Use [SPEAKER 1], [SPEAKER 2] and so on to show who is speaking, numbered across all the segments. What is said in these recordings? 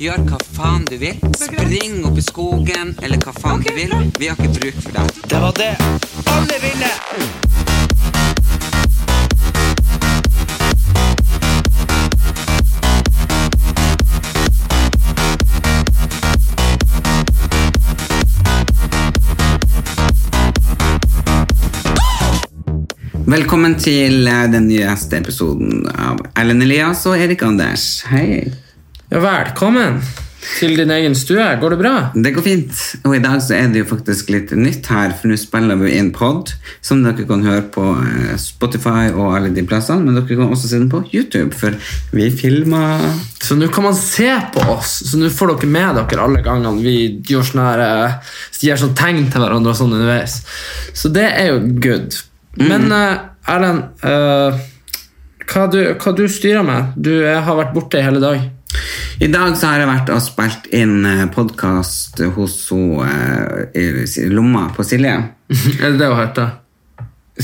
[SPEAKER 1] Gjør hva faen du vil. Spring opp i skogen, eller hva faen du vil. Vi har ikke bruk for deg.
[SPEAKER 2] Det var det alle ville!
[SPEAKER 1] Velkommen til eh, den nyeste episoden av Erlend Elias og Erik Anders. Hei.
[SPEAKER 3] Ja, velkommen til din egen stue. Går det bra?
[SPEAKER 1] Det går fint. Og i dag så er det jo faktisk litt nytt her, for nå spiller vi inn pod, som dere kan høre på eh, Spotify og alle de plassene, men dere kan også se den på YouTube, for vi filmer
[SPEAKER 3] Så nå kan man se på oss, så nå får dere med dere alle gangene vi gjør sånne her, eh, gir sånn tegn til hverandre og sånn underveis. Så det er jo good. Men eh, Erlend, eh, hva, du, hva du styrer med? Du eh, har vært borte i hele dag.
[SPEAKER 1] I dag så har jeg vært og spilt inn podkast hos hun eh, i lomma på Silje.
[SPEAKER 3] er det det hun heter?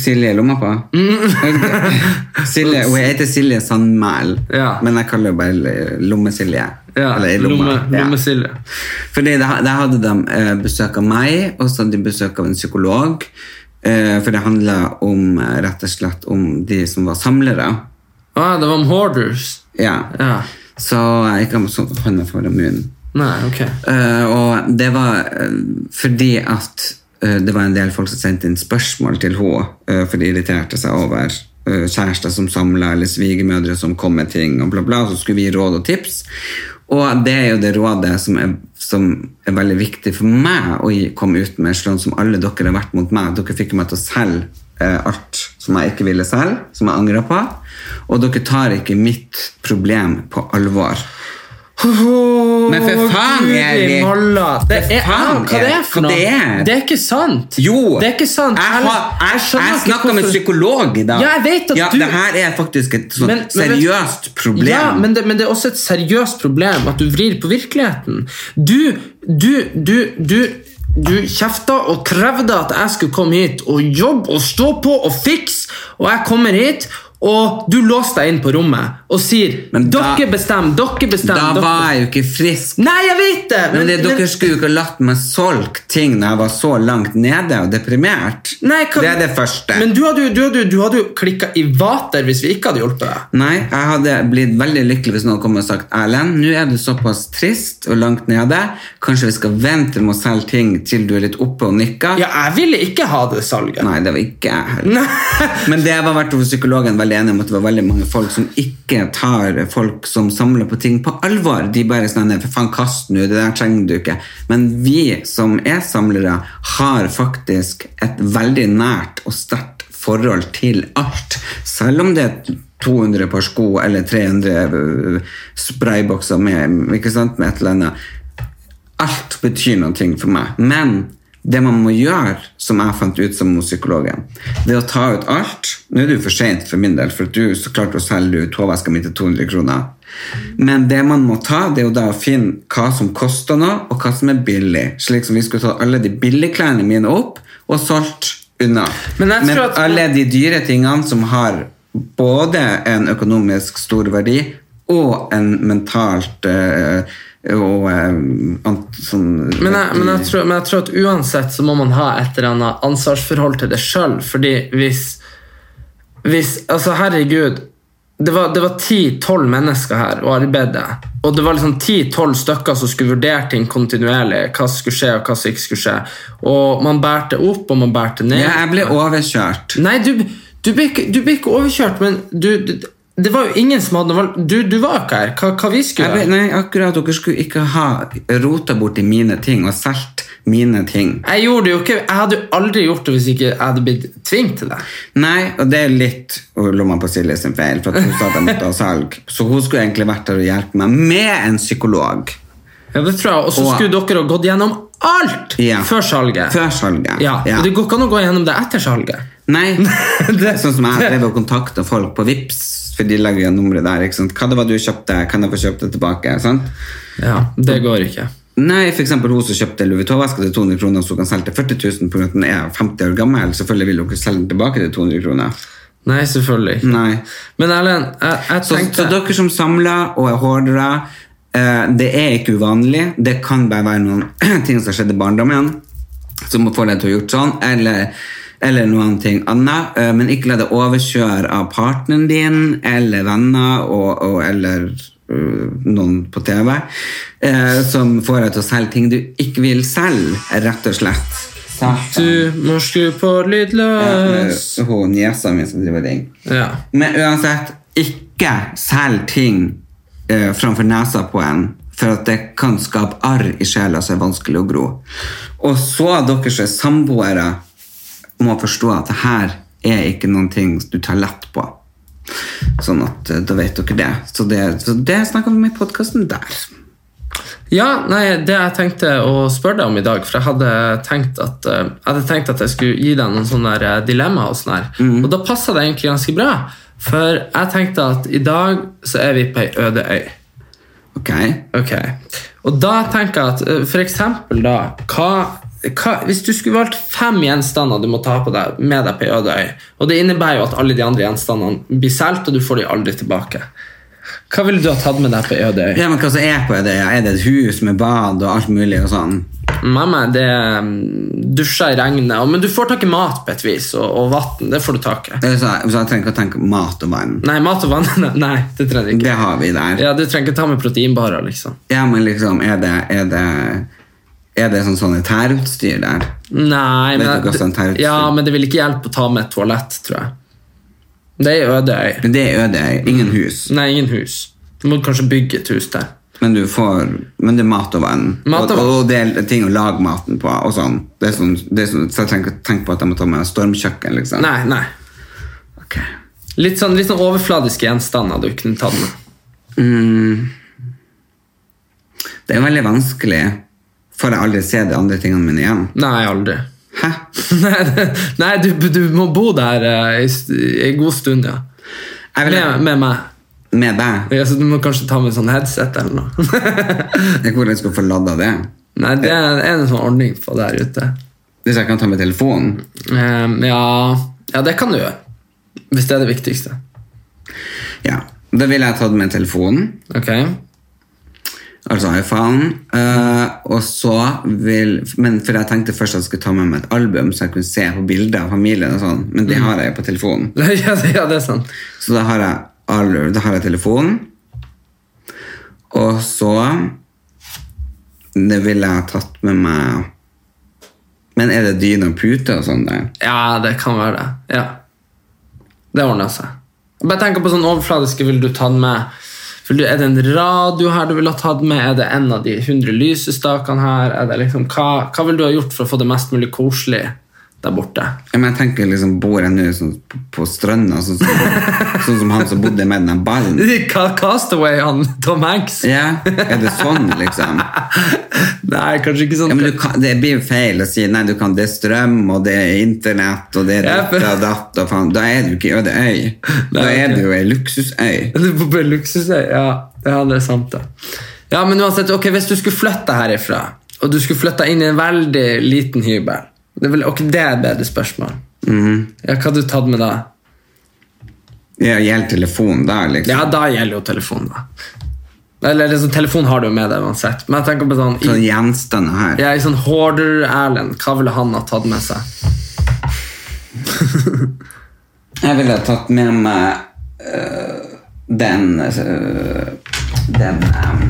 [SPEAKER 1] Silje i lomma på?
[SPEAKER 3] Mm.
[SPEAKER 1] Silje, hun heter Silje Sandmæl,
[SPEAKER 3] Ja.
[SPEAKER 1] men jeg kaller henne bare Lomme-Silje. Eller i lomma.
[SPEAKER 3] Lomme,
[SPEAKER 1] Ja.
[SPEAKER 3] lomme Silje.
[SPEAKER 1] Fordi der, der hadde de eh, besøk av meg, og så hadde de besøk av en psykolog. Eh, for det handla om, eh, rett og slett om de som var samlere.
[SPEAKER 3] Ah, det var om hoarders.
[SPEAKER 1] Ja.
[SPEAKER 3] Ja.
[SPEAKER 1] Så jeg kan sånn hånda foran munnen.
[SPEAKER 3] Nei, ok.
[SPEAKER 1] Eh, og det var eh, fordi at eh, det var en del folk som sendte inn spørsmål til henne, eh, for de irriterte seg over eh, kjærester som samla, eller svigermødre som kom med ting, og bla, bla. Så skulle vi gi råd og tips. Og det er jo det rådet som er, som er veldig viktig for meg å gi- komme ut med, sånn som alle dere har vært mot meg. Dere fikk meg til å selge eh, alt som jeg ikke ville selge, som jeg angrer på. Og dere tar ikke mitt problem på alvor. Men for faen,
[SPEAKER 3] Guri
[SPEAKER 1] Erik.
[SPEAKER 3] malla. Det
[SPEAKER 1] For
[SPEAKER 3] er,
[SPEAKER 1] faen,
[SPEAKER 3] hva det er
[SPEAKER 1] Erik.
[SPEAKER 3] for
[SPEAKER 1] Hva
[SPEAKER 3] noe?
[SPEAKER 1] det er?
[SPEAKER 3] Det er ikke sant.
[SPEAKER 1] Jo!
[SPEAKER 3] Det er ikke sant.
[SPEAKER 1] Jeg,
[SPEAKER 3] Erlend,
[SPEAKER 1] har- jeg,
[SPEAKER 3] skjønner
[SPEAKER 1] jeg
[SPEAKER 3] ikke
[SPEAKER 1] snakka med
[SPEAKER 3] hvorfor-
[SPEAKER 1] psykolog i dag.
[SPEAKER 3] Ja, jeg vet at
[SPEAKER 1] ja,
[SPEAKER 3] du-
[SPEAKER 1] Det her er faktisk et sånt
[SPEAKER 3] Men- men vet-
[SPEAKER 1] seriøst problem.
[SPEAKER 3] Ja, men det, men det er også et seriøst problem at du vrir på virkeligheten. Du, du, du, du du kjefta og krevde at jeg skulle komme hit og jobbe og stå på og fikse, og jeg kommer hit, og du låser deg inn på rommet og sier
[SPEAKER 1] Men da-
[SPEAKER 3] Dere bestemmer, dere
[SPEAKER 1] da
[SPEAKER 3] bestemmer. dere
[SPEAKER 1] var jeg jo ikke frisk.
[SPEAKER 3] Nei, jeg vet det!
[SPEAKER 1] Men det, Dere skulle jo ikke latt meg solgt ting når jeg var så langt nede og deprimert.
[SPEAKER 3] Nei, hva-
[SPEAKER 1] Det er det første.
[SPEAKER 3] Men du hadde jo, du hadde, jo- du hadde jo klikka i vater hvis vi ikke hadde hjulpet deg.
[SPEAKER 1] Nei, jeg hadde blitt veldig lykkelig hvis noen kom og sagt Erlend, nå er du såpass trist og langt nede. Kanskje vi skal vente med å selge ting til du er litt oppe og nikker?
[SPEAKER 3] Ja, jeg ville ikke ha det salget.
[SPEAKER 1] Nei, det var ikke jeg heller.
[SPEAKER 3] Nei.
[SPEAKER 1] Men det var vært hos psykologen veldig enig om at det var veldig mange folk som ikke tar folk som samler på ting på alvor. De bare sånn «Nei, for faen, kast nå, det der trenger du ikke. Men vi som er samlere, har faktisk et veldig nært og sterkt forhold til alt. Selv om det er 200 par sko eller 300 spraybokser med, ikke sant, med et eller annet. Alt betyr noe for meg. Men det man må gjøre, som jeg fant ut som hos psykologen, det er å ta ut alt. Nå er det jo for sent for min del, for at du så klarte å selge ut hårveska mi til 200 kroner. Men det man må ta, det er jo da å finne hva som koster noe, og hva som er billig. Slik som vi skulle ta alle de billige klærne mine opp og solgt unna.
[SPEAKER 3] Men jeg tror at-
[SPEAKER 1] alle de dyre tingene som har både en økonomisk stor verdi og en mentalt eh, og eh, ant, sånn,
[SPEAKER 3] Men jeg, men, jeg tror, men jeg tror at uansett så må man ha et eller annet ansvarsforhold til det sjøl. Fordi hvis, hvis Altså, herregud. Det var, det var 10-12 mennesker her og arbeidet. Og det var liksom 10-12 stykker som skulle vurdere ting kontinuerlig. Hva som skulle skje, og hva som ikke skulle skje. Og man bærte opp, og man bærte ned.
[SPEAKER 1] ja, jeg ble overkjørt.
[SPEAKER 3] Nei, du, du, ble ikke, du ble ikke overkjørt, men du, du Det var jo ingen som hadde noe valg. Du, du var ikke her. Hva, hva vi
[SPEAKER 1] Jeg
[SPEAKER 3] skulle
[SPEAKER 1] ble,
[SPEAKER 3] gjøre?
[SPEAKER 1] nei, akkurat Dere skulle ikke ha rota borti mine ting og solgt mine ting.
[SPEAKER 3] Jeg gjorde det jo ikke, jeg hadde jo aldri gjort det hvis ikke jeg hadde blitt tvunget til det.
[SPEAKER 1] Nei, og det er litt lomma på Silje sin feil, for at hun sa at jeg måtte ha salg. Så hun skulle egentlig vært der og hjulpet meg med en psykolog
[SPEAKER 3] Ja, det tror jeg. Og så
[SPEAKER 1] Og-
[SPEAKER 3] skulle dere ha gått gjennom alt
[SPEAKER 1] Ja.
[SPEAKER 3] før salget.
[SPEAKER 1] før salget.
[SPEAKER 3] Ja.
[SPEAKER 1] Ja.
[SPEAKER 3] Og det går ikke an å gå gjennom det etter salget.
[SPEAKER 1] Nei, det er sånn som jeg drev og kontakta folk på Vips for de legger igjen nummeret der. ikke sant? Hva det var du kjøpte, kan jeg få kjøpt det tilbake? sant?
[SPEAKER 3] Ja, Det går ikke.
[SPEAKER 1] Nei, for eksempel hun som kjøpte Louis Vuitton-veska til 200 kroner, så hun kan selge til 40 000 på grunn av at den er 50 år gammel. Selvfølgelig vil hun ikke selge den tilbake til 200 kroner.
[SPEAKER 3] Nei, Mm. selvfølgelig ikke.
[SPEAKER 1] Nei.
[SPEAKER 3] Men Erlend, jeg, jeg
[SPEAKER 1] Så,
[SPEAKER 3] tenkte
[SPEAKER 1] så dere som samler og er hoardere, Eh, Det er ikke uvanlig. Det kan bare være noen ting som skjedde i barndommen som får deg til å ha gjort sånn, eller, eller noen ting annet. Eh, Men ikke la deg overkjøre av partneren din eller venner og, og, eller uh, noen på TV eh, som får deg til å selge ting du ikke vil selge, rett og slett.
[SPEAKER 3] Du må skru på lydløs.
[SPEAKER 1] Eh, Hun niesa mi som driver ring.
[SPEAKER 3] Ja.
[SPEAKER 1] Men uansett, ikke selg ting eh, framfor nesa på en, for at det kan skape arr i sjela som er vanskelig å gro. Og så dere som er samboere, må forstå at det her er ikke noen ting du tar lett på. Sånn at eh, da vet dere det. Så det, så det snakker vi om i podkasten der.
[SPEAKER 3] ja, nei, det jeg tenkte å spørre deg om i dag, for jeg hadde tenkt at, eh, jeg hadde tenkt at jeg skulle gi deg noen sånne der, eh, dilemma og sånn her. Og da passa det egentlig ganske bra, for jeg tenkte at i dag så er vi på ei øde øy.
[SPEAKER 1] Ok?
[SPEAKER 3] Ok. Og da tenker jeg at eh, for eksempel da, hva, hva, hvis du skulle valgt fem gjenstander du må ta på deg, med deg på en øde øy, og det innebærer jo at alle de andre gjenstandene blir solgt, og du får de aldri tilbake, hva ville du ha tatt med deg på en øde øy?
[SPEAKER 1] Ja, men hva som er på det? Er det et hus med bad og alt mulig og sånn?
[SPEAKER 3] Mamma, det er mm, dusjer i regnet, og- men du får tak i mat på et vis, og, og vann, det får du tak i.
[SPEAKER 1] Eller Så, så jeg trenger ikke å tenke mat og vann.
[SPEAKER 3] Nei, mat og vann, nei, det trenger du ikke.
[SPEAKER 1] Det har vi der.
[SPEAKER 3] Ja, du trenger ikke ta med proteinbarer, liksom.
[SPEAKER 1] Ja, men liksom, er det, er det, er det sånn sanitærutstyr der?
[SPEAKER 3] Nei,
[SPEAKER 1] Vet du hva som tar
[SPEAKER 3] men,
[SPEAKER 1] ut
[SPEAKER 3] ja,
[SPEAKER 1] stund?
[SPEAKER 3] men det vil ikke hjelpe å ta med et toalett, tror jeg. Det er jo øde øy.
[SPEAKER 1] Men Det er øde, ingen hus,
[SPEAKER 3] Nei, ingen hus. Du må kanskje bygge et hus der.
[SPEAKER 1] men, du får, men det er mat og vann.
[SPEAKER 3] Mat og vann.
[SPEAKER 1] og det er ting å lage maten på. og sånn. Det er sånn, det er sånn så jeg trenger ikke tenke på at jeg må ta med stormkjøkken. liksom.
[SPEAKER 3] Nei, nei.
[SPEAKER 1] Ok.
[SPEAKER 3] Litt sånn, litt sånn overfladiske gjenstander du kunne tatt med.
[SPEAKER 1] Det er veldig vanskelig, for jeg aldri ser de andre tingene mine igjen.
[SPEAKER 3] Nei, aldri.
[SPEAKER 1] Hæ?
[SPEAKER 3] nei, det- nei du, du må bo der eh, i st- i en god stund, ja.
[SPEAKER 1] Jeg vil,
[SPEAKER 3] Med, med meg.
[SPEAKER 1] med deg.
[SPEAKER 3] Ja, så du må kanskje ta med sånn headset eller noe.
[SPEAKER 1] Jeg vet ikke skal få lada det.
[SPEAKER 3] nei, det er en sånn ordning på der ute.
[SPEAKER 1] Hvis jeg kan ta med telefonen.
[SPEAKER 3] Ehm, ja. ja, det kan du gjøre. Hvis det er det viktigste.
[SPEAKER 1] Ja. Da ville jeg tatt med telefonen.
[SPEAKER 3] Ok?
[SPEAKER 1] Altså iPhone. eh, og så vil Men for jeg tenkte først at jeg skulle ta med meg et album, så jeg kunne se på bilder av familien. og sånn Men det har jeg jo på telefonen.
[SPEAKER 3] ja, det, ja, det er sånn. sant.
[SPEAKER 1] Så da har jeg, al- da har jeg telefonen. Og så Det ville jeg tatt med meg Men er det dyne og pute og sånn der?
[SPEAKER 3] Ja, det kan være det. Ja. Det ordner seg. Bare tenk på sånn overfladiske vil du ta med. Vil du, er det en radio her du vil ha tatt med? Er det en av de 100 lysestakene her? Er det liksom, hva, hva vil du ha gjort for å få det mest mulig koselig der borte?
[SPEAKER 1] Ja, men jeg tenker liksom Bor jeg nå sånn på, på stranda, sånn som, sånn som han som bodde med den ballen?
[SPEAKER 3] Ca- Castaway, han Tom Hanks?
[SPEAKER 1] Ja, Er det sånn, liksom?
[SPEAKER 3] Nei, kanskje ikke sånn.
[SPEAKER 1] Ja, men du kan, det blir jo feil å si nei, du kan, det er strøm, og det er internett, og det er
[SPEAKER 3] Ja,
[SPEAKER 1] ditt og datt, og faen. Da er du ikke i Ødeøy. Da
[SPEAKER 3] Nei,
[SPEAKER 1] er
[SPEAKER 3] ok.
[SPEAKER 1] du jo ei luksusøy.
[SPEAKER 3] Du bor på en luksusøy, ja. Ja, det er sant, det. Ja, men uansett, ok, Hvis du skulle flytte herifra, og du skulle flytte inn i en veldig liten hybel det er, vel, ok, det er et bedre spørsmål.
[SPEAKER 1] Mhm.
[SPEAKER 3] Ja, Hva hadde du tatt med da?
[SPEAKER 1] Ja, Gjelder telefonen da, liksom?
[SPEAKER 3] Ja, da gjelder jo telefonen, da. Eller liksom, telefon har du jo med deg uansett. Men jeg tenker på sånn
[SPEAKER 1] Sånne
[SPEAKER 3] i,
[SPEAKER 1] gjenstander her.
[SPEAKER 3] ja, i sånn Hoarder-Erlend, hva ville han ha tatt med seg?
[SPEAKER 1] Jeg ville ha tatt med meg øh, den øh, Den øh,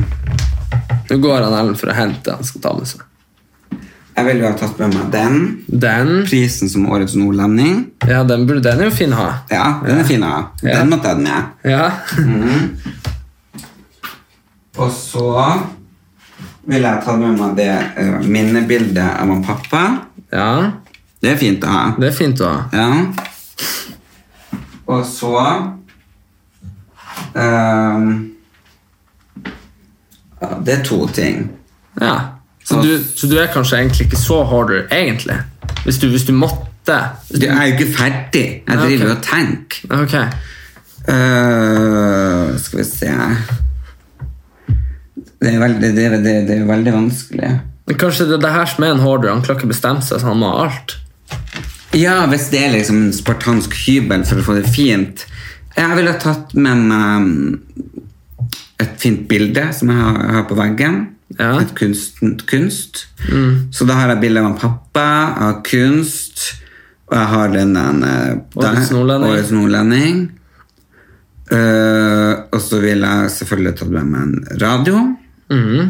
[SPEAKER 3] Nå går han Erlend for å hente det han skal ta med seg.
[SPEAKER 1] Jeg ville ha tatt med meg den.
[SPEAKER 3] Den
[SPEAKER 1] Prisen som Årets nordlending.
[SPEAKER 3] ja, den, burde, den er jo fin å ha.
[SPEAKER 1] Ja, den er fin å ha.
[SPEAKER 3] Ja.
[SPEAKER 1] Den måtte jeg hatt med.
[SPEAKER 3] Ja.
[SPEAKER 1] Og så ville jeg tatt med meg det eh, minnebildet av han pappa.
[SPEAKER 3] ja,
[SPEAKER 1] Det er fint å ha.
[SPEAKER 3] det er fint å ha.
[SPEAKER 1] Ja. Og så ehm, ja, Det er to ting.
[SPEAKER 3] Ja. Så,
[SPEAKER 1] Og-
[SPEAKER 3] du, så du er kanskje egentlig ikke så hoarder, egentlig? Hvis du, hvis du måtte? Hvis du,
[SPEAKER 1] Jeg er jo ikke ferdig. Jeg
[SPEAKER 3] Ja, ok.
[SPEAKER 1] driver jo og tenker.
[SPEAKER 3] ok.
[SPEAKER 1] Eh, skal vi se Det er veldig, det, er- det, er- det er veldig vanskelig.
[SPEAKER 3] Men kanskje det er det her som er en hoarder? Han klarer ikke bestemme seg, så han må ha alt?
[SPEAKER 1] Ja, hvis det er liksom en spartansk hybel for å få det fint. Jeg ville ha tatt med meg mm, et fint bilde som jeg har, har på veggen.
[SPEAKER 3] Ja.
[SPEAKER 1] Et kunst. kunst. Så da har jeg bilde av en pappa, jeg har kunst, og jeg har den der eh,
[SPEAKER 3] Årets nordlending.
[SPEAKER 1] Årets nordlending. Eh, og så vil jeg selvfølgelig tatt med meg en radio.
[SPEAKER 3] Mhm.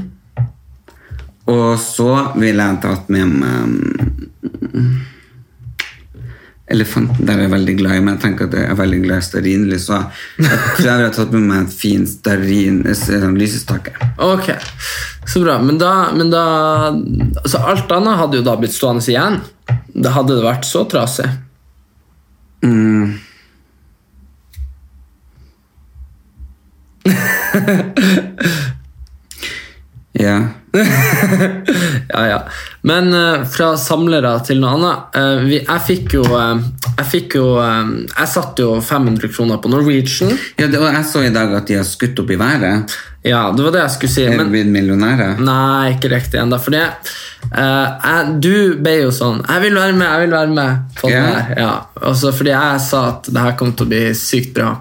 [SPEAKER 1] Og så vil jeg tatt med meg mm, Elefanten der er jeg veldig glad i, men jeg tenker at jeg er veldig glad i stearinlys. Så jeg tror jeg ville tatt med meg en fin stearin eh, sånn lysestake.
[SPEAKER 3] Ok, så bra. Men da, men da altså Alt annet hadde jo da blitt stående igjen. Da hadde det vært så trasig.
[SPEAKER 1] Ja.
[SPEAKER 3] Ja, ja. Men eh, fra samlere til noe annet. eh, vi, jeg fikk jo eh, Jeg fikk jo eh, Jeg satt jo 500 kroner på Norwegian.
[SPEAKER 1] ja det var, jeg så i dag at de har skutt opp i været.
[SPEAKER 3] Ja, det var det jeg skulle si.
[SPEAKER 1] Er
[SPEAKER 3] Men
[SPEAKER 1] de blitt millionærer?
[SPEAKER 3] Nei, ikke riktig ennå. Fordi eh, jeg, du ble jo sånn 'Jeg vil være med, jeg vil være med' på
[SPEAKER 1] Ja.
[SPEAKER 3] det her. Ja. Også fordi jeg sa at det her kom til å bli sykt bra.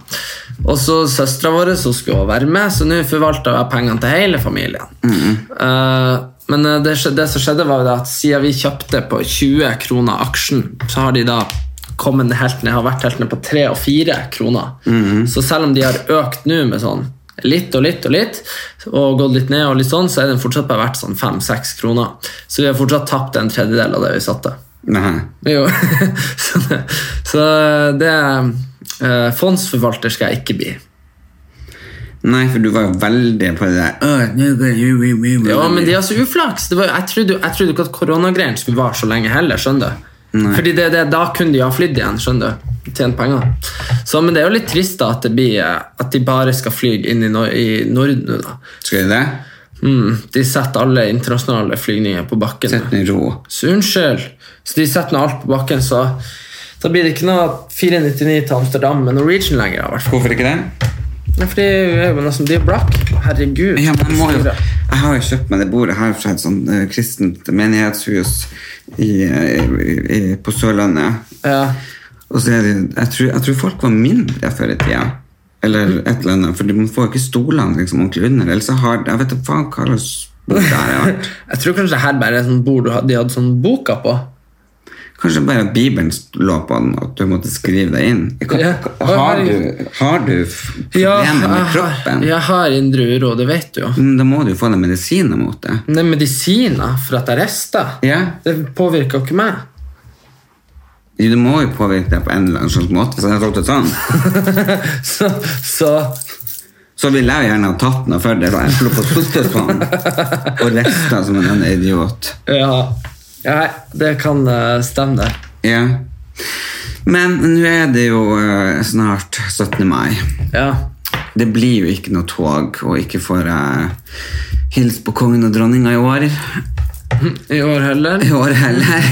[SPEAKER 3] Og så søstera vår som skulle også være med, så nå forvalta jeg pengene til hele familien. Eh, men eh, det, skje- det som skjedde, var jo det at siden vi kjøpte på 20 kroner aksjen, så har de da kommet helt ned, har vært helt ned på 3 og 4 kroner. Så selv om de har økt nå med sånn litt og litt og litt, og gått litt ned, og litt sånn, så er den fortsatt bare verdt sånn 5-6 kroner. Så vi har fortsatt tapt en tredjedel av det vi satte.
[SPEAKER 1] Nei.
[SPEAKER 3] Jo. så det, så det eh, Fondsforvalter skal jeg ikke bli.
[SPEAKER 1] Nei, for du var jo veldig på det der «Åh, nå går det- jo, jo, jo, jo».
[SPEAKER 3] Ja, men de har så uflaks. Det var, jeg, trodde, jo- jeg trodde ikke at koronagreiene skulle vare så lenge heller. skjønner du? Fordi det, det, Da kunne de ha flydd igjen. skjønner du? Tjent penger. Så, men det er jo litt trist da at, det blir, eh, at de bare skal fly inn i, Nor i Norden. nå, da.
[SPEAKER 1] Skal de det?
[SPEAKER 3] Mm, de setter alle internasjonale flygninger på bakken.
[SPEAKER 1] Sett den i ro.
[SPEAKER 3] Så unnskyld. Så de setter nå alt på bakken, så da blir det ikke noe 499 til Amsterdam med Norwegian lenger. i hvert fall.
[SPEAKER 1] Hvorfor ikke det?
[SPEAKER 3] Nei, for de er jo nesten de er blakk. Herregud.
[SPEAKER 1] Ja, men jeg, må jo, jeg har jo kjøpt meg det bordet her fra et sånn eh, kristent menighetshus i, i, i, på Sørlandet.
[SPEAKER 3] Ja.
[SPEAKER 1] Og så er det, jeg, tror, jeg tror folk var mindre før i tida. Eller et eller annet, for man får jo ikke stolene liksom, ordentlig under. Ellers så har Jeg vet da faen hva slags bord det her har vært.
[SPEAKER 3] Jeg tror kanskje det her bare er sånn bord du hadde, de hadde sånn boka på.
[SPEAKER 1] Kanskje bare Bibelen lå på den, at du måtte skrive deg inn. Kan,
[SPEAKER 3] Ja.
[SPEAKER 1] har, du, har du f- problemer med kroppen,
[SPEAKER 3] jeg har indre uro, det vet du jo.
[SPEAKER 1] Mm, da må du jo få deg medisiner mot det.
[SPEAKER 3] Men det er medisiner for at jeg rister.
[SPEAKER 1] Ja.
[SPEAKER 3] Det påvirker jo ikke meg.
[SPEAKER 1] Du må jo påvirke deg på en eller annen slags måte. Så jeg har tatt det sånn.
[SPEAKER 3] Så, så
[SPEAKER 1] Så ville jeg jo gjerne ha tatt noe for det. da. Jeg skulle på suttet på den og rista som en annen idiot.
[SPEAKER 3] ja. Nei, det kan eh, stemme, det.
[SPEAKER 1] Ja. Men nå er det jo eh, snart 17. mai.
[SPEAKER 3] Ja.
[SPEAKER 1] Det blir jo ikke noe tog, og ikke får jeg hilse på kongen og dronninga i år.
[SPEAKER 3] I år heller.
[SPEAKER 1] I år heller.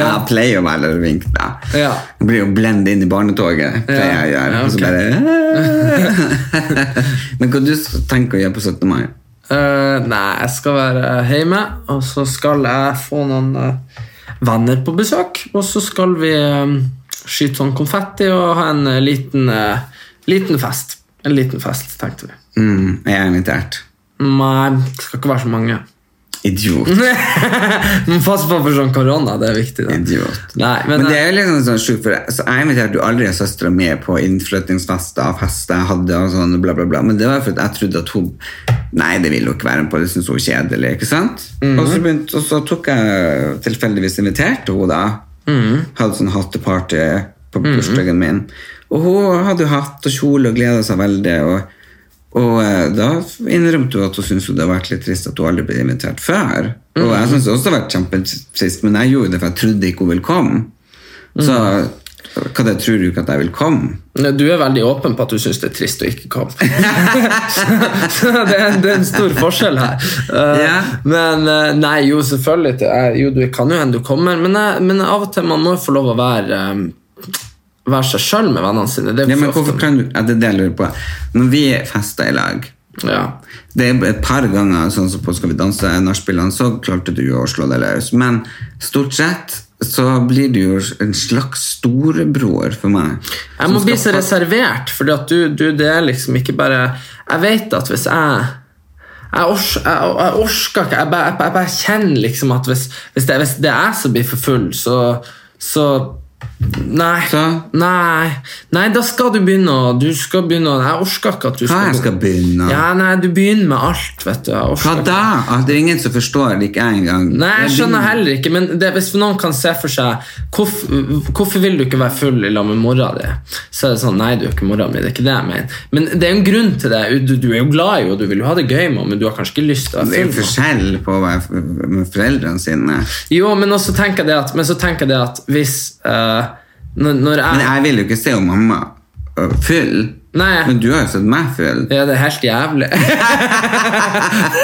[SPEAKER 1] jeg pleier jo å være litt vink, da.
[SPEAKER 3] Ja.
[SPEAKER 1] Jeg blir jo blendet inn i barnetoget, pleier jeg å gjøre.
[SPEAKER 3] Ja,
[SPEAKER 1] Og så
[SPEAKER 3] ok.
[SPEAKER 1] bare Men hva du tenker du å gjøre på 17. mai?
[SPEAKER 3] Eh, nei, jeg skal være hjemme, og så skal jeg få noen eh, venner på besøk. Og så skal vi eh, skyte sånn konfetti og ha en eh, liten, eh, liten fest. En liten fest, tenkte vi.
[SPEAKER 1] Mm, jeg er invitert.
[SPEAKER 3] Nei, det skal ikke være så mange.
[SPEAKER 1] Idiot.
[SPEAKER 3] Men pass på for sånn korona, det er viktig. Da.
[SPEAKER 1] Idiot.
[SPEAKER 3] Nei, men,
[SPEAKER 1] Men det er jo liksom sånn sjukt, for altså, jeg inviterte jo aldri søstera mi på innflyttingsfester og fester jeg hadde, og sånn, bla, bla, bla. Men det var fordi jeg trodde at hun Nei, det ville hun ikke være med på, det syntes hun var kjedelig. ikke sant? og, så begynte, og så tok jeg tilfeldigvis inviterte hun, da. Hadde sånn hatteparty på bursdagen min. Og hun hadde jo hatt og kjole og gleda seg veldig. og og eh, da innrømte hun at hun syntes jo det hadde vært litt trist at hun aldri ble invitert før. Og jeg syntes også det hadde vært kjempetrist, men jeg gjorde det for jeg trodde ikke hun ville komme. Så
[SPEAKER 3] Mm.
[SPEAKER 1] hva det tror du ikke at jeg vil komme?
[SPEAKER 3] Nei, Du er veldig åpen på at du syns det er trist å ikke komme. så det er, det er en stor forskjell her. Eh,
[SPEAKER 1] Ja.
[SPEAKER 3] Men eh, Nei, jo, selvfølgelig. det er- Jo, du kan jo hende du kommer, men, jeg, men av og til man må jo få lov å være eh, Være seg sjøl med vennene sine. Det er
[SPEAKER 1] Ja, men
[SPEAKER 3] for ofte-
[SPEAKER 1] hvorfor kan du, ja, det er det jeg lurer på. Når vi fester i lag,
[SPEAKER 3] ja.
[SPEAKER 1] det er et par ganger sånn som på Skal vi danse, nachspielene, så klarte du jo å slå deg løs. Men stort sett så blir du jo en slags storebror for meg.
[SPEAKER 3] Jeg
[SPEAKER 1] Som
[SPEAKER 3] må bli så
[SPEAKER 1] skal fa-
[SPEAKER 3] reservert, fordi at du, du Det er liksom ikke bare Jeg vet at hvis jeg jeg, ors, jeg, jeg orsker ikke. Jeg bare, jeg, bare- jeg bare kjenner liksom at hvis, hvis, det, hvis det er jeg som blir for full, så, så Nei.
[SPEAKER 1] Så?
[SPEAKER 3] Nei, Nei, da skal du begynne å Du skal begynne å Jeg orker ikke at du
[SPEAKER 1] Hva
[SPEAKER 3] skal,
[SPEAKER 1] jeg skal begynne?
[SPEAKER 3] Ja, nei, Du begynner med alt, vet du. Jeg
[SPEAKER 1] Hva
[SPEAKER 3] orker
[SPEAKER 1] da? At det er ingen som forstår det, ikke jeg engang.
[SPEAKER 3] Nei, jeg skjønner
[SPEAKER 1] begynner-
[SPEAKER 3] heller ikke, men det, hvis noen kan se for seg hvorfor, hvorfor vil du ikke være full i lag med mora di? Så er det sånn, nei, du er ikke mora mi, det er ikke det jeg mener. Men det er jo en grunn til det. Du, du er jo glad i henne, du vil jo ha det gøy med henne, men du har kanskje ikke lyst til å
[SPEAKER 1] Det er
[SPEAKER 3] være
[SPEAKER 1] jo
[SPEAKER 3] full. med henne.
[SPEAKER 1] forskjell på å være f- med foreldrene sine.
[SPEAKER 3] Jo, men også tenker jeg det at, men så tenker jeg det at hvis eh, når, når
[SPEAKER 1] Men
[SPEAKER 3] jeg,
[SPEAKER 1] jeg vil jo ikke se om mamma ø, full.
[SPEAKER 3] Nei.
[SPEAKER 1] Men du har jo sett meg full.
[SPEAKER 3] Ja, det er helt jævlig.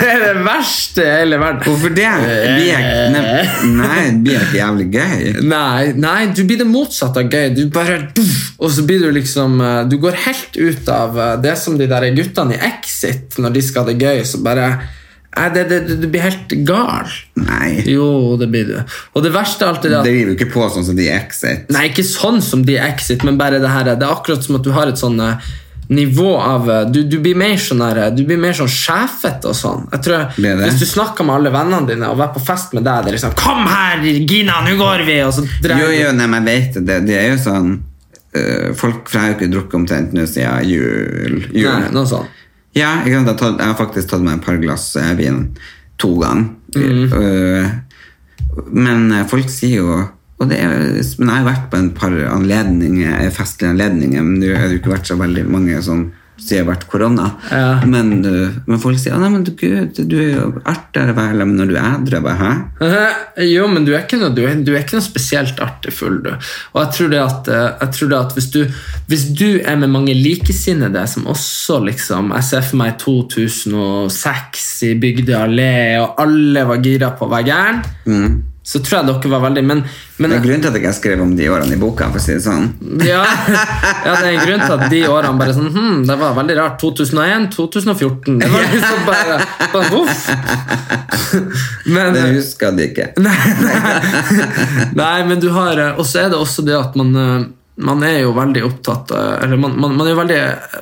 [SPEAKER 3] det er det verste i hele verden.
[SPEAKER 1] Hvorfor det? Blir jeg- ne- Nei, det blir ikke jævlig gøy.
[SPEAKER 3] Nei, nei, du blir det motsatte av gøy. Du bare, duff, og så blir du liksom eh, Du går helt ut av eh, det som de der guttene i Exit, når de skal ha det gøy, så bare Nei, det, det, det, du blir helt gal.
[SPEAKER 1] Nei.
[SPEAKER 3] Jo, det blir du. Og det verste alltid er
[SPEAKER 1] Det
[SPEAKER 3] at
[SPEAKER 1] driver jo ikke på sånn som de i Exit.
[SPEAKER 3] Nei, ikke sånn som de i Exit, men bare det her. Det er akkurat som at du har et sånn eh, nivå av eh, Du, du blir mer sånn her, eh, Du blir mer sånn sjefete og sånn. Jeg tror,
[SPEAKER 1] Blir det?
[SPEAKER 3] Hvis du snakker med alle vennene dine og er på fest med deg, det er liksom 'Kom her, Gina, nå går vi!' Og så drar
[SPEAKER 1] Jo,
[SPEAKER 3] du-
[SPEAKER 1] jo, nei, men jeg vet det. Det er jo sånn ø, Folk for jeg har jo ikke drukket omtrent nå siden jul. jul.
[SPEAKER 3] Nei, noe sånt.
[SPEAKER 1] Ja, ikke sant? jeg, har tatt, jeg har faktisk tatt meg et par glass eh, vin to ganger.
[SPEAKER 3] Mm.
[SPEAKER 1] Eh, men eh, folk sier jo og det er, men Jeg har jo vært på en par anledninger, eh, festlige anledninger, men det har jo ikke vært så veldig mange som sier det har vært korona.
[SPEAKER 3] Ja.
[SPEAKER 1] Men, eh, men folk sier «Å, nei, men du, gud, du er jo artigere å være sammen når du er edru. Jeg bare, Hæ?
[SPEAKER 3] Eh, Jo, men du er ikke noe, du er, du er ikke noe spesielt artig full, du. Og jeg tror det at, eh, jeg tror det at hvis, du, hvis du er med mange likesinnede som også liksom Jeg ser for meg 2006 i Bygdøy allé, og alle var gira på å være gæren. Så tror jeg dere var veldig Men, men
[SPEAKER 1] Det er grunnen til at jeg ikke skrev om de årene i boka. for å si det sånn.
[SPEAKER 3] ja, ja, det er en grunn til at de årene bare sånn hm, Det var veldig rart. 2001, 2014 Det var liksom bare, bare voff. Men,
[SPEAKER 1] Det husker de ikke.
[SPEAKER 3] Nei, nei. nei, men du har eh, Og så er det også det at man eh, man er jo veldig opptatt eh, eller man, man, man, er jo veldig,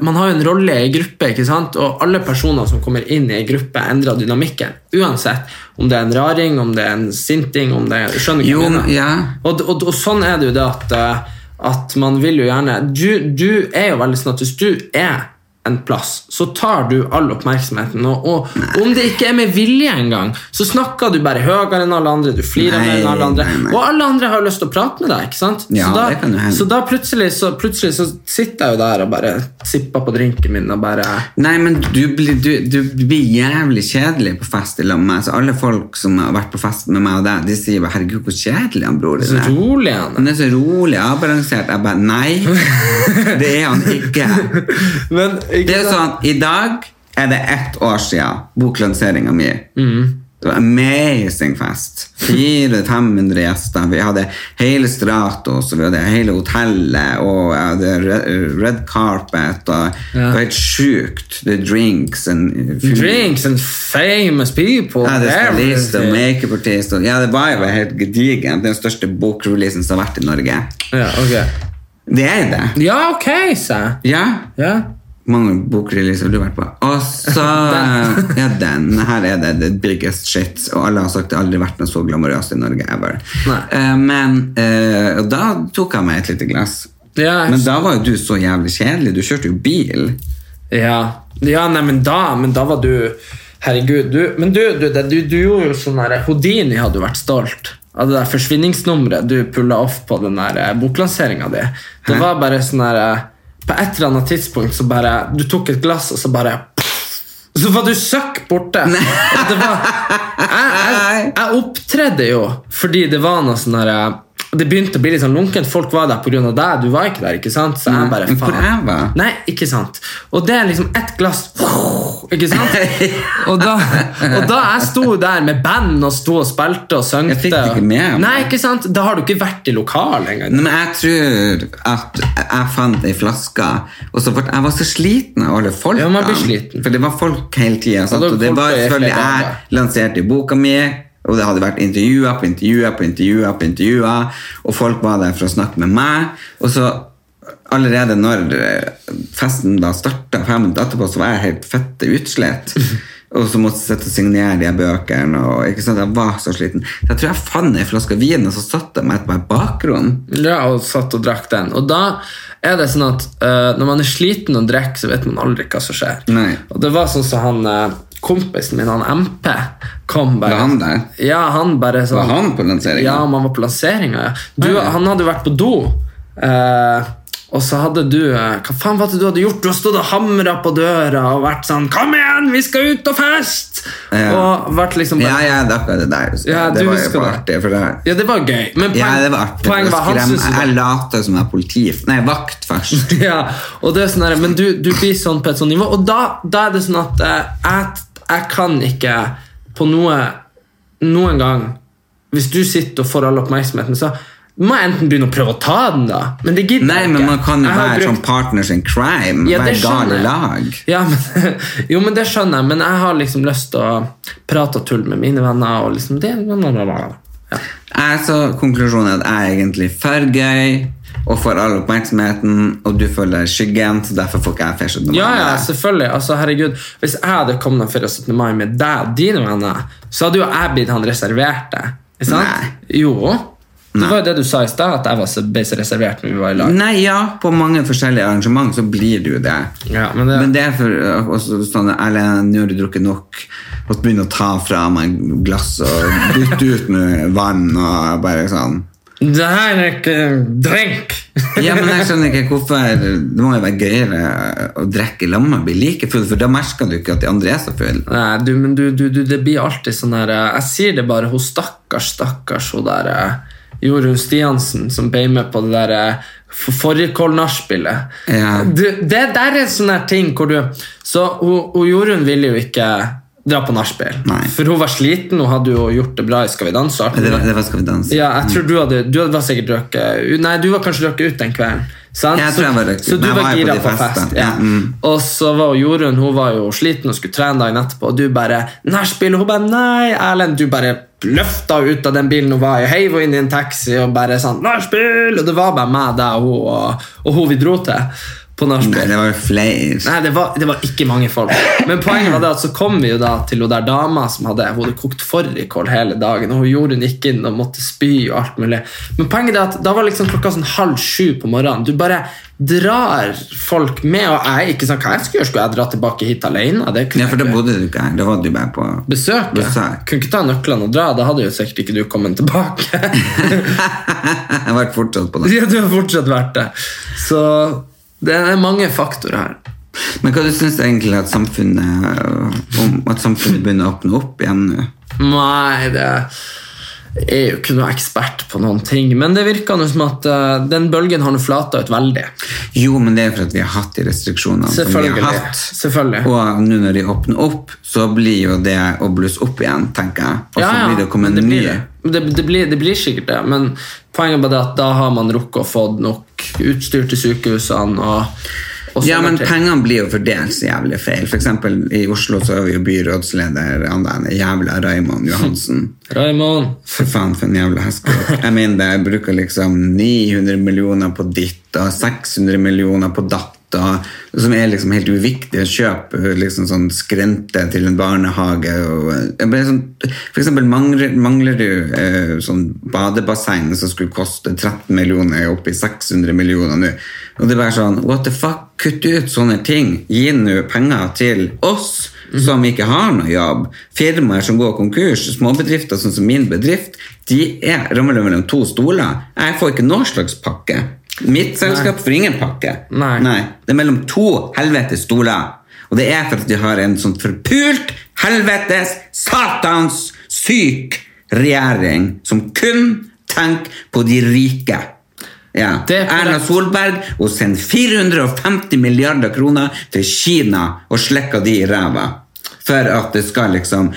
[SPEAKER 3] man har jo en rolle i gruppe, ikke sant? og alle personer som kommer inn i en gruppe, endrer dynamikken. Uansett om det er en raring, om det er en sinting om det er, Skjønner du hva
[SPEAKER 1] Jo,
[SPEAKER 3] jeg mener?
[SPEAKER 1] ja.
[SPEAKER 3] Og, og, og sånn er det jo det at, eh, at man vil jo gjerne du, du er jo veldig sånn at hvis du er en plass, så tar du all oppmerksomheten. Og, og om det ikke er med vilje engang, så snakker du bare høyere enn alle andre. Du flirer
[SPEAKER 1] Nei,
[SPEAKER 3] mer enn alle andre.
[SPEAKER 1] nei, nei.
[SPEAKER 3] Og alle andre har lyst til å prate med deg. ikke sant?
[SPEAKER 1] Ja,
[SPEAKER 3] så da,
[SPEAKER 1] det kan jo hende.
[SPEAKER 3] så da plutselig, så, plutselig så sitter jeg jo der og bare sipper på drinken min og bare
[SPEAKER 1] Nei, men du blir, du, du blir jævlig kjedelig på fest i lag med meg. Så alle folk som har vært på fest med meg og deg, de sier bare 'herregud, hvor kjedelig han bror din
[SPEAKER 3] Så
[SPEAKER 1] er'.
[SPEAKER 3] rolig er han
[SPEAKER 1] Han er så rolig avbalansert. Jeg bare Nei, det er han ikke.
[SPEAKER 3] Men ikke
[SPEAKER 1] Det er jo
[SPEAKER 3] sant?
[SPEAKER 1] sånn, I dag er det ett år siden boklanseringa mi. Det var amazing fest. 400-500 gjester. Vi hadde hele Stratos, og vi hadde hele hotellet, og jeg hadde re- red carpet. Og
[SPEAKER 3] Ja.
[SPEAKER 1] Det var helt sjukt. The drinks and
[SPEAKER 3] Drinks and famous people.
[SPEAKER 1] Ja, det er stylist og
[SPEAKER 3] everything.
[SPEAKER 1] makeupartist. og- Ja, det var jo helt gedigent. Den største bokreleasen som har vært i Norge.
[SPEAKER 3] Ja, ok.
[SPEAKER 1] Det er det.
[SPEAKER 3] Ja, ok, sa jeg.
[SPEAKER 1] Ja,
[SPEAKER 3] Ja.
[SPEAKER 1] mange bokreleaser har du vært på. Og så Ja, den. Her er det the biggest shit. Og alle har sagt det har aldri vært noe så glamorøst i Norge ever.
[SPEAKER 3] Nei.
[SPEAKER 1] Eh, men eh, og da tok jeg meg et lite glass.
[SPEAKER 3] Ja,
[SPEAKER 1] Men da var jo du så jævlig kjedelig. Du kjørte jo bil.
[SPEAKER 3] ja. ja nei, men da, men da var du Herregud, du Men du, du, det- du, du gjorde jo sånn der Houdini hadde jo vært stolt av det der forsvinningsnummeret du pulla off på den der boklanseringa di. Det var bare sånn der eh, På et eller annet tidspunkt så bare Du tok et glass, og så bare så var du søkk borte! Og Det var, jeg, jeg, jeg opptredde jo fordi det var noe sånn der, Det begynte å bli litt sånn lunkent. Folk var der pga. deg, du var ikke der. ikke sant? Så jeg bare,
[SPEAKER 1] Men hvor
[SPEAKER 3] faen.
[SPEAKER 1] jeg var?
[SPEAKER 3] Nei, ikke sant. Og det er liksom ett glass Ikke sant? Og da, og da jeg sto der med band og sto og spilte og søngte
[SPEAKER 1] Jeg fikk det ikke med meg.
[SPEAKER 3] Nei, ikke sant? Da har du ikke vært i lokalet engang.
[SPEAKER 1] Nei, Men jeg tror at jeg fant ei flaske, og så ble jeg var så sliten av alle folka.
[SPEAKER 3] Ja, man blir sliten.
[SPEAKER 1] For det var folk hele tida.
[SPEAKER 3] Ja, da
[SPEAKER 1] Og det
[SPEAKER 3] folk
[SPEAKER 1] var
[SPEAKER 3] er
[SPEAKER 1] selvfølgelig
[SPEAKER 3] flere
[SPEAKER 1] jeg
[SPEAKER 3] dager.
[SPEAKER 1] lanserte i boka mi. Og det hadde vært intervjuer på intervjuer på intervjuer, på intervjuer og folk var der for å snakke med meg. Og så allerede når eh, festen da starta, fem minutter etterpå, så var jeg helt fette utslitt. Og så måtte jeg sitte og signere de her bøkene. Og, ikke sant? Jeg var så sliten. Så jeg tror jeg fant ei flaske vin, og så satte jeg meg på et bakrom.
[SPEAKER 3] Ja, og satt og drakk den. Og da er det sånn at eh, når man er sliten og drikker, så vet man aldri hva som skjer.
[SPEAKER 1] Nei.
[SPEAKER 3] Og det var sånn som han eh, kompisen min, han MP, kom bare
[SPEAKER 1] Var han der?
[SPEAKER 3] Ja, han bare sånn
[SPEAKER 1] Var han på lanseringen?
[SPEAKER 3] Ja, man var på lanseringa, ja.
[SPEAKER 1] Ah,
[SPEAKER 3] Du,
[SPEAKER 1] Ja, ja.
[SPEAKER 3] han hadde vært på do. eh, og så hadde du eh, Hva faen var det du hadde gjort? Du hadde stått og hamra på døra og vært sånn 'Kom igjen, vi skal ut og feste!'
[SPEAKER 1] Ja.
[SPEAKER 3] Og vært liksom bare
[SPEAKER 1] Ja, ja, det er akkurat det der. husker jeg.
[SPEAKER 3] Ja,
[SPEAKER 1] det
[SPEAKER 3] du
[SPEAKER 1] var jo
[SPEAKER 3] husker
[SPEAKER 1] bare
[SPEAKER 3] det.
[SPEAKER 1] artig. For det,
[SPEAKER 3] Ja, det var gøy. Men poeng,
[SPEAKER 1] ja, det var artig.
[SPEAKER 3] poenget var han
[SPEAKER 1] Skrem-
[SPEAKER 3] syntes jo det-
[SPEAKER 1] Jeg lata som jeg er politi... Nei, vakt først.
[SPEAKER 3] ja, og det er sånn der, Men du, du blir sånn på et sånt nivå, og da, da er det sånn at eh, jeg, jeg kan ikke på noe Noen gang Hvis du sitter og får all oppmerksomheten, så må jeg enten begynne å prøve å ta den, da. Men det gidder
[SPEAKER 1] Nei,
[SPEAKER 3] jeg ikke.
[SPEAKER 1] men man kan jo
[SPEAKER 3] Jeg har
[SPEAKER 1] være
[SPEAKER 3] brukt-
[SPEAKER 1] sånn partners in crime.
[SPEAKER 3] Ja, det
[SPEAKER 1] være gal
[SPEAKER 3] skjønner
[SPEAKER 1] i
[SPEAKER 3] jeg.
[SPEAKER 1] lag.
[SPEAKER 3] Ja, men, jo, men det skjønner jeg, men jeg har liksom lyst til å prate og tulle med mine venner. Og liksom det, ja.
[SPEAKER 1] Jeg så konklusjonen er at jeg er egentlig for gøy og får all oppmerksomheten, og du føler skyggen, så derfor får ikke jeg ferskt noe
[SPEAKER 3] Ja, ja,
[SPEAKER 1] med det.
[SPEAKER 3] selvfølgelig. Altså, herregud, Hvis jeg hadde kommet den 17. mai med deg og dine venner, så hadde jo jeg blitt han reserverte. Ikke sant? Jo. Det var jo det du sa i stad, at jeg var så ble så reservert når vi var i lag.
[SPEAKER 1] Nei, ja, på mange forskjellige arrangement så blir du det.
[SPEAKER 3] Ja, men det,
[SPEAKER 1] Men det er for øh, også sånn Erlend, nå har du drukket nok. Og så begynner å ta fra meg glass og bytte ut med vann og bare sånn.
[SPEAKER 3] det her er ikke drink!
[SPEAKER 1] Ja, men jeg skjønner ikke hvorfor Det må jo være gøyere å drikke i lag med og bli like full, for da merker du ikke at de andre er så fulle.
[SPEAKER 3] Nei, du, men du, du, du, det blir alltid sånn her eh, Jeg sier det bare, hun stakkars, stakkars, hun der eh, Jorunn Stiansen som ble med på det der eh, for- forrige Kål Nachspielet.
[SPEAKER 1] Ja.
[SPEAKER 3] Du, Det der er en sånn her ting hvor du Så hun, hun Jorunn ville jo ikke dra på nachspiel.
[SPEAKER 1] Nei.
[SPEAKER 3] For hun var sliten, hun hadde jo gjort det bra i Skal vi danse. og alt
[SPEAKER 1] Det
[SPEAKER 3] mulig.
[SPEAKER 1] var, det var Skal vi danse.
[SPEAKER 3] Ja, jeg tror du hadde, du hadde var sikkert drukket ut- Nei, du var kanskje drukket ut den kvelden. sant?
[SPEAKER 1] Jeg tror jeg var drukket ut,
[SPEAKER 3] så, så du
[SPEAKER 1] men jeg
[SPEAKER 3] var,
[SPEAKER 1] var jo på
[SPEAKER 3] gira
[SPEAKER 1] de
[SPEAKER 3] på,
[SPEAKER 1] festene.
[SPEAKER 3] fest. Ja.
[SPEAKER 1] Ja, mm.
[SPEAKER 3] Og så var jo Jorunn hun var jo sliten og skulle trene dagen etterpå, og du bare 'Nachspiel', og hun bare 'Nei, Erlend'. Du bare løfta henne ut av den bilen hun var i, heiv henne inn i en taxi og bare sånn 'Nachspiel'! Og det var bare meg, deg og hun, og, og hun vi dro til på
[SPEAKER 1] Nei,
[SPEAKER 3] nachspiel.
[SPEAKER 1] det var jo flere.
[SPEAKER 3] Nei, det var, det var ikke mange folk. Men poenget var det at så kom vi jo da til hun der dama som hadde, hun hadde kokt fårikål hele dagen. Og hun gjorde hun gikk inn og måtte spy og alt mulig. Men poenget er at da var liksom klokka sånn halv sju på morgenen. Du bare drar folk med. Og jeg ikke sånn, hva jeg skulle gjøre, skulle jeg dra tilbake hit alene? Det kunne
[SPEAKER 1] Ja, for da
[SPEAKER 3] jeg ikke.
[SPEAKER 1] bodde du ikke her. Da var du bare på
[SPEAKER 3] Besøk? ja.
[SPEAKER 1] Besøk.
[SPEAKER 3] Kunne ikke ta nøklene og dra. Da hadde jo sikkert ikke du kommet tilbake.
[SPEAKER 1] Jeg var fortsatt på det.
[SPEAKER 3] ja, du har fortsatt vært det. Så det er mange faktorer her.
[SPEAKER 1] Men hva du syns egentlig at samfunnet øh, om at samfunnet begynner å åpne opp igjen nå?
[SPEAKER 3] Nei, det er jo ikke noe ekspert på noen ting. Men det virker nå som at eh, den bølgen har nå flata ut veldig.
[SPEAKER 1] Jo, men det er for at vi har hatt de restriksjonene som vi har
[SPEAKER 3] Selvfølgelig.
[SPEAKER 1] hatt.
[SPEAKER 3] Selvfølgelig.
[SPEAKER 1] Og nå når de åpner opp, så blir jo det å blusse opp igjen, tenker jeg. Og så blir det å komme
[SPEAKER 3] men
[SPEAKER 1] en ny.
[SPEAKER 3] blir det. Men Det, det, blir, det blir sikkert det, men poenget er bare det at da har man rukket å få nok utstyr til sykehusene. og, og sånne
[SPEAKER 1] Ja, men
[SPEAKER 3] ting.
[SPEAKER 1] pengene blir jo fordelt så jævlig feil. For eksempel i Oslo så er vi jo byrådsleder, han der jævla Raymond Johansen.
[SPEAKER 3] Raymond
[SPEAKER 1] For faen, for en jævla hestkåk. Jeg mener det, jeg bruker liksom 900 millioner på ditt og 600 millioner på datt, og, som er liksom helt uviktig å kjøpe liksom sånn skrente til en barnehage. Og, jeg bare sånn, for eksempel mangler, mangler du eh, sånn badebasseng som skulle koste 13 millioner, jeg er oppe i 600 millioner nå. Og det er bare sånn, what the fuck, kutt ut sånne ting. Gi nå penger til oss som ikke har noe jobb. Firmaer som går konkurs, småbedrifter sånn som min bedrift, de er ramlet mellom to stoler. Jeg får ikke noen slags pakke. Mitt selskap får ingen pakke.
[SPEAKER 3] Nei.
[SPEAKER 1] Det er mellom to helvetes stoler. Og det er for at de har en sånn forpult, helvetes, satans, syk regjering som kun tenker på de rike. Ja.
[SPEAKER 3] Det er korrekt.
[SPEAKER 1] Erna Solberg og sende 450 milliarder kroner til Kina og slikke de i ræva. For at det skal liksom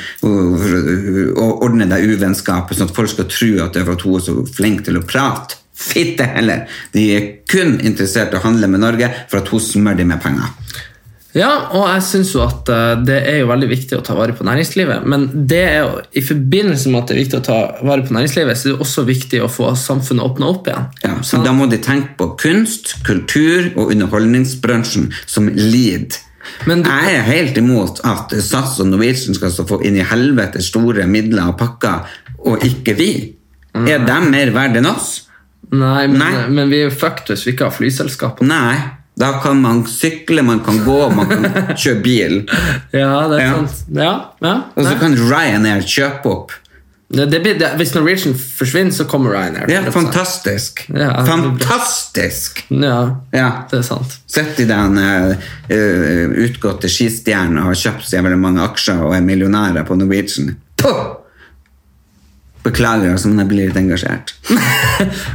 [SPEAKER 1] uh, å ordne det uvennskapet, sånn at folk skal tro at det er for at hun er så flink til å prate. Fitte heller! De er kun interessert i å handle med Norge for at hun smører dem med penger.
[SPEAKER 3] Ja, og jeg syns jo at eh, det er jo veldig viktig å ta vare på næringslivet. Men det er jo, i forbindelse med at det er viktig å ta vare på næringslivet, så er det også viktig å få samfunnet åpna opp igjen.
[SPEAKER 1] Ja, så
[SPEAKER 3] Sånn.
[SPEAKER 1] da må de tenke på kunst, kultur og underholdningsbransjen som lid.
[SPEAKER 3] Men du-
[SPEAKER 1] jeg er helt imot at SAS og Norwegian skal så få inn i helvete store midler og pakker, og ikke vi. Er de mer verdt enn oss?
[SPEAKER 3] Nei, men, eh,
[SPEAKER 1] Nei.
[SPEAKER 3] men vi er jo fucked hvis vi ikke har flyselskap.
[SPEAKER 1] Nei. Da kan man sykle, man kan gå, man kan kjøre bil.
[SPEAKER 3] Ja, det er
[SPEAKER 1] Ja.
[SPEAKER 3] sant. Ja, ja.
[SPEAKER 1] Og så
[SPEAKER 3] Nei.
[SPEAKER 1] kan Ryanair kjøpe opp.
[SPEAKER 3] Det, det blir, det, hvis Norwegian forsvinner, så kommer Ryanair.
[SPEAKER 1] Det er fantastisk.
[SPEAKER 3] Ja, det blir bra.
[SPEAKER 1] Fantastisk!
[SPEAKER 3] Ja,
[SPEAKER 1] Ja.
[SPEAKER 3] det er sant.
[SPEAKER 1] Sett i den eh, eh, utgåtte skistjernen og har kjøpt så jævlig mange aksjer og er millionærer på Norwegian. Puh! Beklager, altså, men jeg blir litt engasjert.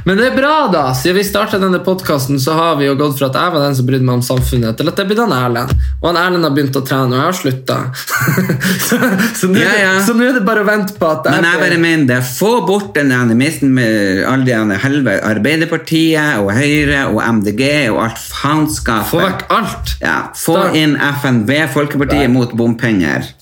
[SPEAKER 3] Men det er bra, da! Siden vi starta denne podkasten, så har vi jo gått fra at jeg var den som brydde meg om samfunnet, til at det blir han Erlend. Og han Erlend har begynt å trene, og jeg har slutta. så så nå
[SPEAKER 1] Ja, ja.
[SPEAKER 3] så nå er det bare å vente på at
[SPEAKER 1] Men jeg bare mener det. Få bort den animisten med alle de andre helve Arbeiderpartiet og Høyre og MDG og alt faenskapet.
[SPEAKER 3] Få vekk alt!
[SPEAKER 1] Ja, få
[SPEAKER 3] Start.
[SPEAKER 1] inn FNB, Folkepartiet mot bompenger.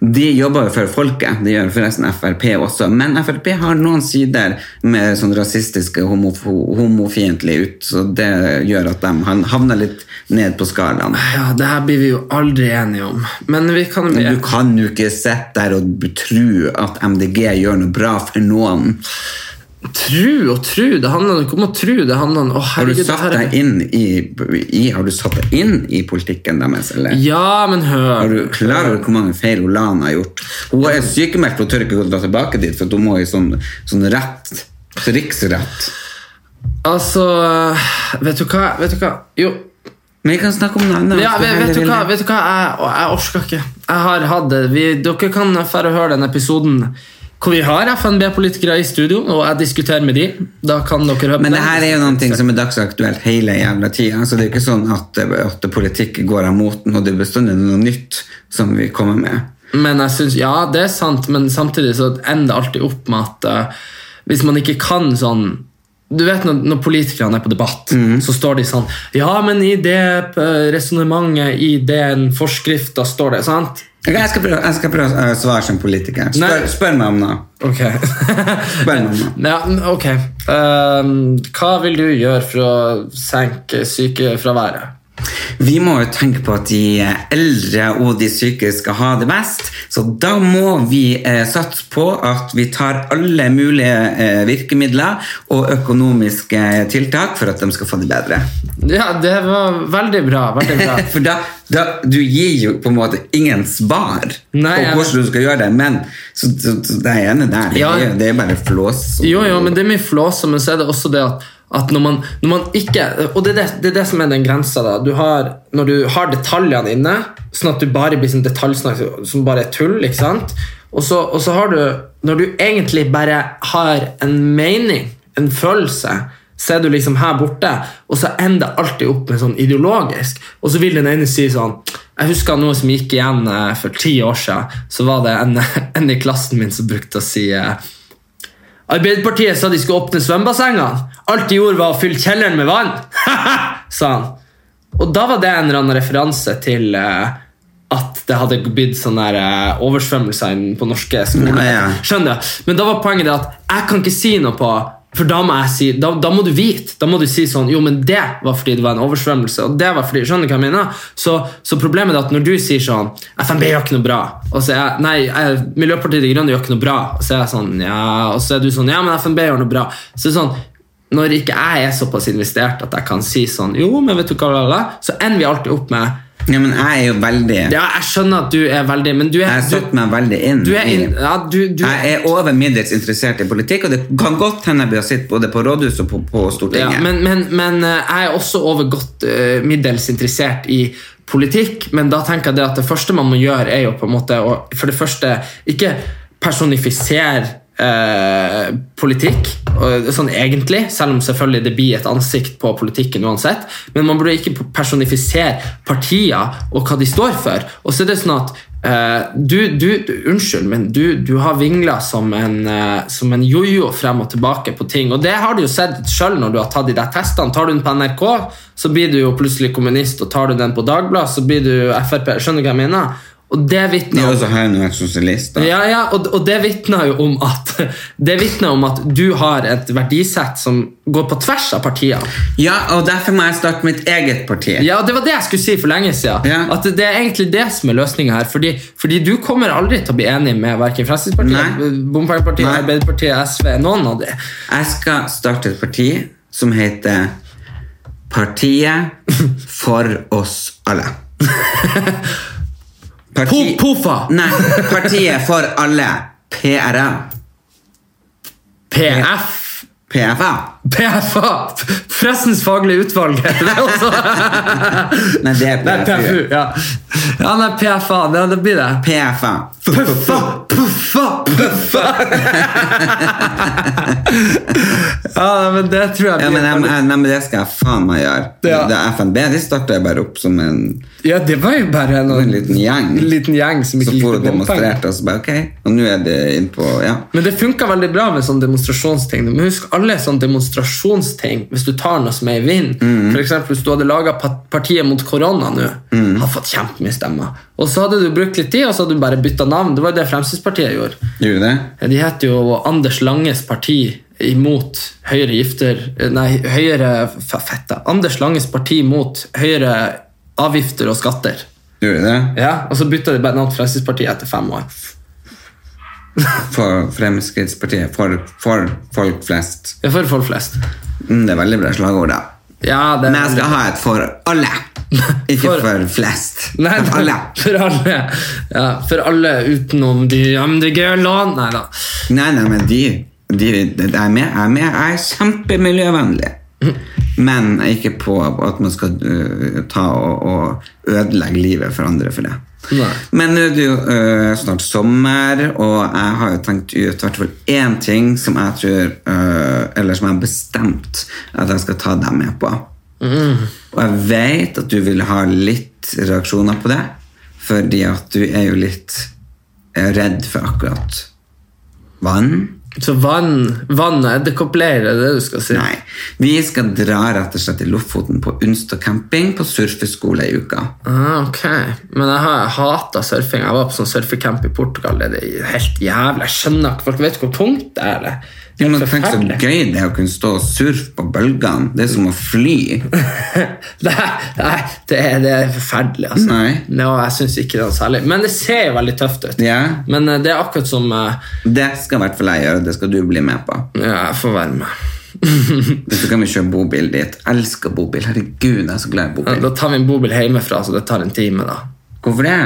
[SPEAKER 1] De jobber jo for folket, det gjør forresten Frp også. Men Frp har noen sider med sånn rasistiske, homof homofiendtlige ut, så det gjør at de han- havner litt ned på skalaen.
[SPEAKER 3] Ja, det her blir vi jo aldri enige om. Men vi kan bli
[SPEAKER 1] Men du kan jo ikke sitte der og tro at MDG gjør noe bra for noen.
[SPEAKER 3] Tru og tru, det handler ikke om å tru, det handler om å
[SPEAKER 1] Har du
[SPEAKER 3] herregud, det
[SPEAKER 1] satt
[SPEAKER 3] her er-
[SPEAKER 1] deg inn i, i, har du satt deg inn i politikken deres, eller?
[SPEAKER 3] Ja, men hør
[SPEAKER 1] Er du klar over hvor mange feil Olana har gjort? Hun er sykemeldt og tør ikke gå dra tilbake dit, for hun må i sånn, sånn rett, så riksrett.
[SPEAKER 3] Altså, vet du hva? Vet du hva? Jo,
[SPEAKER 1] Men vi kan snakke om noe annet.
[SPEAKER 3] ja,
[SPEAKER 1] hvis
[SPEAKER 3] vet,
[SPEAKER 1] heller
[SPEAKER 3] vet du
[SPEAKER 1] vil
[SPEAKER 3] hva?
[SPEAKER 1] det.
[SPEAKER 3] Vet du hva? Jeg, og jeg orsker ikke. Jeg har hatt det. Vi, dere kan færre høre den episoden hvor vi har FNB-politikere i studio, og jeg diskuterer med de. Da kan dere høre på
[SPEAKER 1] Men
[SPEAKER 3] den.
[SPEAKER 1] det her er jo noe som er dagsaktuelt hele jævla tida, så det er jo ikke sånn at, at politikk går av moten, og det er bestandig noe nytt som vi kommer med.
[SPEAKER 3] Men jeg synes, ja, det er sant, men samtidig så ender det alltid opp med at eh, hvis man ikke kan sånn du vet når, når politikerne er på debatt, så står de sånn Ja, men i det eh, resonnementet, i den forskrifta, står det sant?
[SPEAKER 1] Ok, jeg skal prøve, jeg skal prøve å eh, svare som politiker.
[SPEAKER 3] Nei.
[SPEAKER 1] Spør, spør meg om noe.
[SPEAKER 3] Ok.
[SPEAKER 1] Spør meg om noe.
[SPEAKER 3] ja, ok. Ehm, hva vil du gjøre for å senke sykefraværet?
[SPEAKER 1] Vi må jo tenke på at de eldre og de syke skal ha det best, så da må vi eh, satse på at vi tar alle mulige eh, virkemidler og økonomiske tiltak for at de skal få det bedre.
[SPEAKER 3] Ja, det var veldig bra. Veldig bra.
[SPEAKER 1] For da, da, du gir jo på en måte ingen svar
[SPEAKER 3] Nei, jeg
[SPEAKER 1] på hvordan du skal gjøre det, men så, så, så det er enig der.
[SPEAKER 3] Ja.
[SPEAKER 1] Det, er- det er bare flås.
[SPEAKER 3] Jo, jo, men det er mye flåse, men så er det også det at, at når, man, når man ikke Og det er det, det er det som er den grensa. da du har, Når du har detaljene inne, sånn at du bare blir sånn detaljsnakk som bare er tull, ikke sant? Og så, og så har du Når du egentlig bare har en mening, en følelse, så er du liksom her borte, og så ender det alltid opp med sånn ideologisk. Og så vil den ene si sånn Jeg husker noe som gikk igjen eh, for ti år siden. Så var det en, en i klassen min som brukte å si eh, Arbeiderpartiet sa de skulle åpne svømmebassengene. Alt de gjorde, var å fylle kjelleren med vann! sa han. Og da var det en eller annen referanse til eh, at det hadde blitt sånne der, eh, oversvømmelser inn på norske skoler.
[SPEAKER 1] Ja, ja.
[SPEAKER 3] Skjønner du? Men da var poenget det at jeg kan ikke si noe på For da må jeg si Da, da må du vite. Da må du si sånn Jo, men det var fordi det var en oversvømmelse. Og det var fordi Skjønner du hva jeg mener? Så, så problemet er at når du sier sånn FNB gjør ikke noe bra. Og så er jeg Nei, jeg, Miljøpartiet De Grønne gjør ikke noe bra. Og så er jeg sånn Ja, og så er du sånn Ja, men FNB gjør noe bra. Så det er sånn når ikke jeg er såpass investert at jeg kan si sånn Jo, men vet du hva, la, la, la», så ender vi alltid opp med
[SPEAKER 1] Ja, men jeg er jo veldig
[SPEAKER 3] Ja, jeg skjønner at du er veldig Men du er
[SPEAKER 1] Jeg har satt
[SPEAKER 3] du,
[SPEAKER 1] meg veldig inn.
[SPEAKER 3] du er
[SPEAKER 1] i-
[SPEAKER 3] inn- Ja, du, du
[SPEAKER 1] Jeg er over middels interessert i politikk, og det kan godt hende jeg blir sitte både på rådhuset og på, på
[SPEAKER 3] Ja,
[SPEAKER 1] Stortinget.
[SPEAKER 3] men, men, men eh, jeg er også over godt eh, middels interessert i politikk, men da tenker jeg det at det første man må gjøre, er jo på en måte å for det første ikke personifisere eh, politikk, og, sånn egentlig, selv om selvfølgelig det blir et ansikt på politikken uansett, men man burde ikke personifisere partier og hva de står for. Og så er det sånn at Eh, du, du, du, unnskyld, men du, du har vingla som en eh, Som en jojo frem og tilbake på ting. Og det har du jo sett sjøl når du har tatt de der testene. Tar du den på NRK, så blir du jo plutselig kommunist, og tar du den på Dagbladet, så blir du Frp. Skjønner du hva jeg mener? Og det
[SPEAKER 1] Det er
[SPEAKER 3] vitner
[SPEAKER 1] jo
[SPEAKER 3] om
[SPEAKER 1] også her nå er sosialist. Da.
[SPEAKER 3] ja, ja, og, og det vitner jo om at Det vitner om at du har et verdisett som går på tvers av partiene.
[SPEAKER 1] Ja, og derfor må jeg starte mitt eget parti.
[SPEAKER 3] Ja, det var det jeg skulle si for lenge siden.
[SPEAKER 1] Ja.
[SPEAKER 3] At det er egentlig det som er løsninga her. Fordi, fordi du kommer aldri til å bli enig med verken
[SPEAKER 1] Nei.
[SPEAKER 3] Fremskrittspartiet, Bompengepartiet,
[SPEAKER 1] Nei.
[SPEAKER 3] Arbeiderpartiet, SV, noen av de.
[SPEAKER 1] Jeg skal starte et parti som heter Partiet for oss alle.
[SPEAKER 3] Po-
[SPEAKER 1] Parti...
[SPEAKER 3] Pofa!
[SPEAKER 1] Nei, Partiet for alle. PRA.
[SPEAKER 3] PF!
[SPEAKER 1] PFA.
[SPEAKER 3] PFA! Pressens faglige utvalg heter det også.
[SPEAKER 1] Nei, det er
[SPEAKER 3] Nei,
[SPEAKER 1] PFU.
[SPEAKER 3] PFU. Ja, ja nei, PFA. Det, det blir det.
[SPEAKER 1] PFA.
[SPEAKER 3] Puffa, puffa, puffa! ja, men det tror jeg
[SPEAKER 1] Ja, men, jeg, jeg, nei, men det skal jeg faen meg gjøre.
[SPEAKER 3] Ja.
[SPEAKER 1] Det er FNB de starter jeg bare opp som en,
[SPEAKER 3] Ja, det var jo bare en,
[SPEAKER 1] en liten gjeng.
[SPEAKER 3] en liten gjeng som
[SPEAKER 1] Så
[SPEAKER 3] ikke
[SPEAKER 1] for
[SPEAKER 3] likte
[SPEAKER 1] å
[SPEAKER 3] bompenger.
[SPEAKER 1] demonstrere, og så bare ok. Og nå er det inn på ja.
[SPEAKER 3] Men det funka veldig bra med sånne demonstrasjonsting. Men husk alle sånne demonstrasjonsting hvis du tar noe som er i vind. For eksempel hvis du hadde laga partiet mot korona nå, hadde fått kjempemye stemmer. Og så hadde du brukt litt tid, og så hadde du bare bytta navn. Det var jo det Fremskrittspartiet gjorde.
[SPEAKER 1] Gjorde det?
[SPEAKER 3] De heter jo Anders Langes parti imot Høyre gifter Nei, Høyre f- fette. Anders Langes parti mot Høyre avgifter og skatter.
[SPEAKER 1] Gjorde det?
[SPEAKER 3] Ja, Og så bytta de bare navn til Fremskrittspartiet etter fem år.
[SPEAKER 1] For Fremskrittspartiet. For, for folk flest.
[SPEAKER 3] Det er for folk flest.
[SPEAKER 1] Mm, det er veldig bra slagord, da.
[SPEAKER 3] Ja, det
[SPEAKER 1] Men jeg skal ha et for alle. Ikke
[SPEAKER 3] For-
[SPEAKER 1] for, flest.
[SPEAKER 3] Nei,
[SPEAKER 1] for alle.
[SPEAKER 3] For alle, ja, for alle utenom de MDG-lån. Nei da.
[SPEAKER 1] Nei, nei, men de, de, de jeg er med. Jeg er med. Jeg er kjempemiljøvennlig. Men ikke på at man skal øh, ta og, og ødelegge livet for andre for det.
[SPEAKER 3] Nei.
[SPEAKER 1] Men nå er det jo øh, snart sommer, og jeg har jo tenkt ut i hvert fall én ting som jeg tror øh, Eller som jeg har bestemt at jeg skal ta deg med på. Og jeg vet at du vil ha litt reaksjoner på det, fordi at du er jo litt eh, redd for akkurat vann.
[SPEAKER 3] Så vann, vann og edderkoppleir er det du skal si?
[SPEAKER 1] Nei. Vi skal dra rett og slett til Lofoten på Unstad camping på surfeskole i uka.
[SPEAKER 3] Ah, ok. Men jeg har hata surfing. Jeg var på sånn surfecamp i Portugal. Det er helt jævlig. Jeg skjønner ikke Folk vet ikke hvor tungt det er. det. Det
[SPEAKER 1] Ja,
[SPEAKER 3] er
[SPEAKER 1] men
[SPEAKER 3] helt
[SPEAKER 1] Tenk så
[SPEAKER 3] forferdelig.
[SPEAKER 1] gøy det er å kunne stå og surfe på bølgene. Det er som å fly.
[SPEAKER 3] Nei, nei det, er, det er forferdelig, altså.
[SPEAKER 1] Nei.
[SPEAKER 3] Nå, jeg syns ikke det er noe særlig. Men det ser jo veldig tøft ut.
[SPEAKER 1] Ja,
[SPEAKER 3] Men eh, det er akkurat som eh,
[SPEAKER 1] Det skal i hvert fall jeg gjøre, og det skal du bli med på.
[SPEAKER 3] Ja, jeg får være med.
[SPEAKER 1] Så kan vi kjøre bobil dit. Elsker bobil. Herregud, jeg er så glad i bobil.
[SPEAKER 3] da tar vi en bobil hjemmefra, så det tar en time, da.
[SPEAKER 1] Hvorfor det?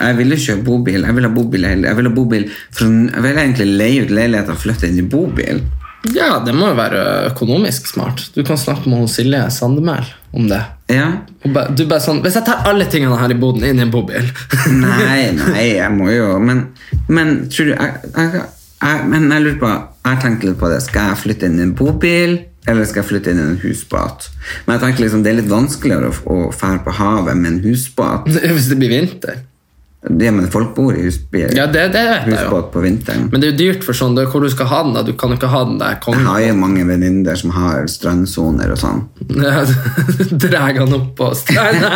[SPEAKER 1] Jeg ville ikke ha bobil. Jeg ville ha bobil, jeg ville ha bobil for, jeg ville egentlig leie ut leiligheter og flytte inn i bobil.
[SPEAKER 3] Ja, det må jo være økonomisk smart. Du kan snakke med hun Silje Sandemæl om det.
[SPEAKER 1] Ja.
[SPEAKER 3] Og ba, du bare sånn, Hvis jeg tar alle tingene her i boden inn i en bobil
[SPEAKER 1] Nei, nei, jeg må jo Men, men tror du jeg, jeg, jeg, Men jeg lurer på Jeg tenkte litt på det. Skal jeg flytte inn i en bobil, eller skal jeg flytte inn i en husbåt? Men jeg tenker liksom det er litt vanskeligere å, å fære på havet med en husbåt.
[SPEAKER 3] Hvis det blir vinter.
[SPEAKER 1] Ja, men folk bor i husbil.
[SPEAKER 3] Ja, det, det vet jeg jo.
[SPEAKER 1] husbåt på vinteren.
[SPEAKER 3] Men det er jo dyrt for sånn, det er hvor du skal ha den. da Du kan jo ikke ha den der
[SPEAKER 1] Jeg
[SPEAKER 3] kongen.
[SPEAKER 1] har jo mange venninner som har strandsoner og sånn.
[SPEAKER 3] Dreg han opp på stranda.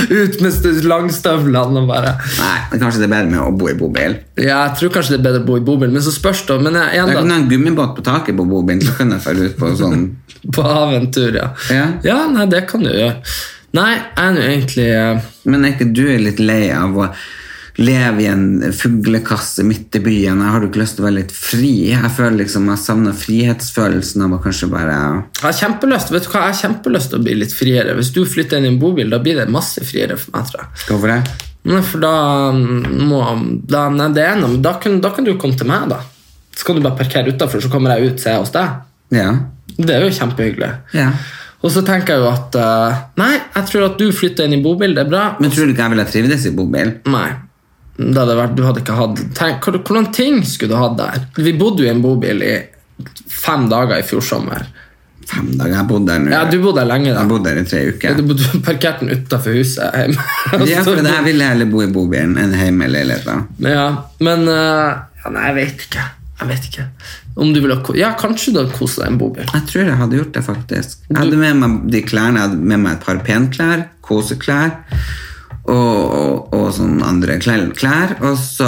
[SPEAKER 3] Ut med st- langstøvlene og bare
[SPEAKER 1] Nei, men kanskje det er bedre med å bo i bobil.
[SPEAKER 3] Ja, jeg tror kanskje det er bedre å bo i bobil, men så spørs det. Men jeg, igjen
[SPEAKER 1] Jeg
[SPEAKER 3] da,
[SPEAKER 1] kan ha en gummibåt på taket på bobilen, så kan jeg fære ut på sånn
[SPEAKER 3] På aventur, ja.
[SPEAKER 1] Ja.
[SPEAKER 3] nei, det kan du gjøre. Nei, jeg er nå egentlig eh,
[SPEAKER 1] Men er ikke du litt lei av å leve i en fuglekasse midt i byen? Jeg har du ikke lyst til å være litt fri? Jeg føler liksom jeg savner frihetsfølelsen av å kanskje bare
[SPEAKER 3] jeg har kjempelyst vet du hva, jeg har kjempelyst til å bli litt friere. Hvis du flytter inn i en bobil, da blir det masse friere for meg. tror jeg.
[SPEAKER 1] Hvorfor det?
[SPEAKER 3] Nei, for da mm, må da, nei, det er noe, men da, kan, da kan du komme til meg, da. Så kan du bare parkere utafor, så kommer jeg ut, så er jeg hos deg.
[SPEAKER 1] Ja.
[SPEAKER 3] Det er jo kjempehyggelig.
[SPEAKER 1] ja.
[SPEAKER 3] Og så tenker jeg jo at eh, Nei, jeg tror at du flytter inn i bobil, det er bra.
[SPEAKER 1] Men tror du ikke jeg ville trivdes i bobil?
[SPEAKER 3] Nei. Det hadde vært, du hadde ikke hatt tenk, hva- Hvordan ting skulle du hatt der? Vi bodde jo i en bobil i fem dager i fjor sommer.
[SPEAKER 1] fem dager. Jeg har bodd der nå.
[SPEAKER 3] Ja, du bodde der lenge,
[SPEAKER 1] Jeg har
[SPEAKER 3] da.
[SPEAKER 1] bodd der i tre uker.
[SPEAKER 3] Du bodde parkert den utafor huset hjemme.
[SPEAKER 1] Ja, for det her vil jeg heller bo i bobilen enn hjemme i leiligheten.
[SPEAKER 3] Men ja, men eh, ja, Nei, jeg vet ikke. Jeg vet ikke. Om du vil ha ko- Ja, kanskje du hadde kost deg i en bobil.
[SPEAKER 1] Jeg tror jeg hadde gjort det, faktisk. Jeg hadde med meg de klærne, jeg hadde med meg et par penklær, koseklær og, og, og sånn andre klær. klær. Og så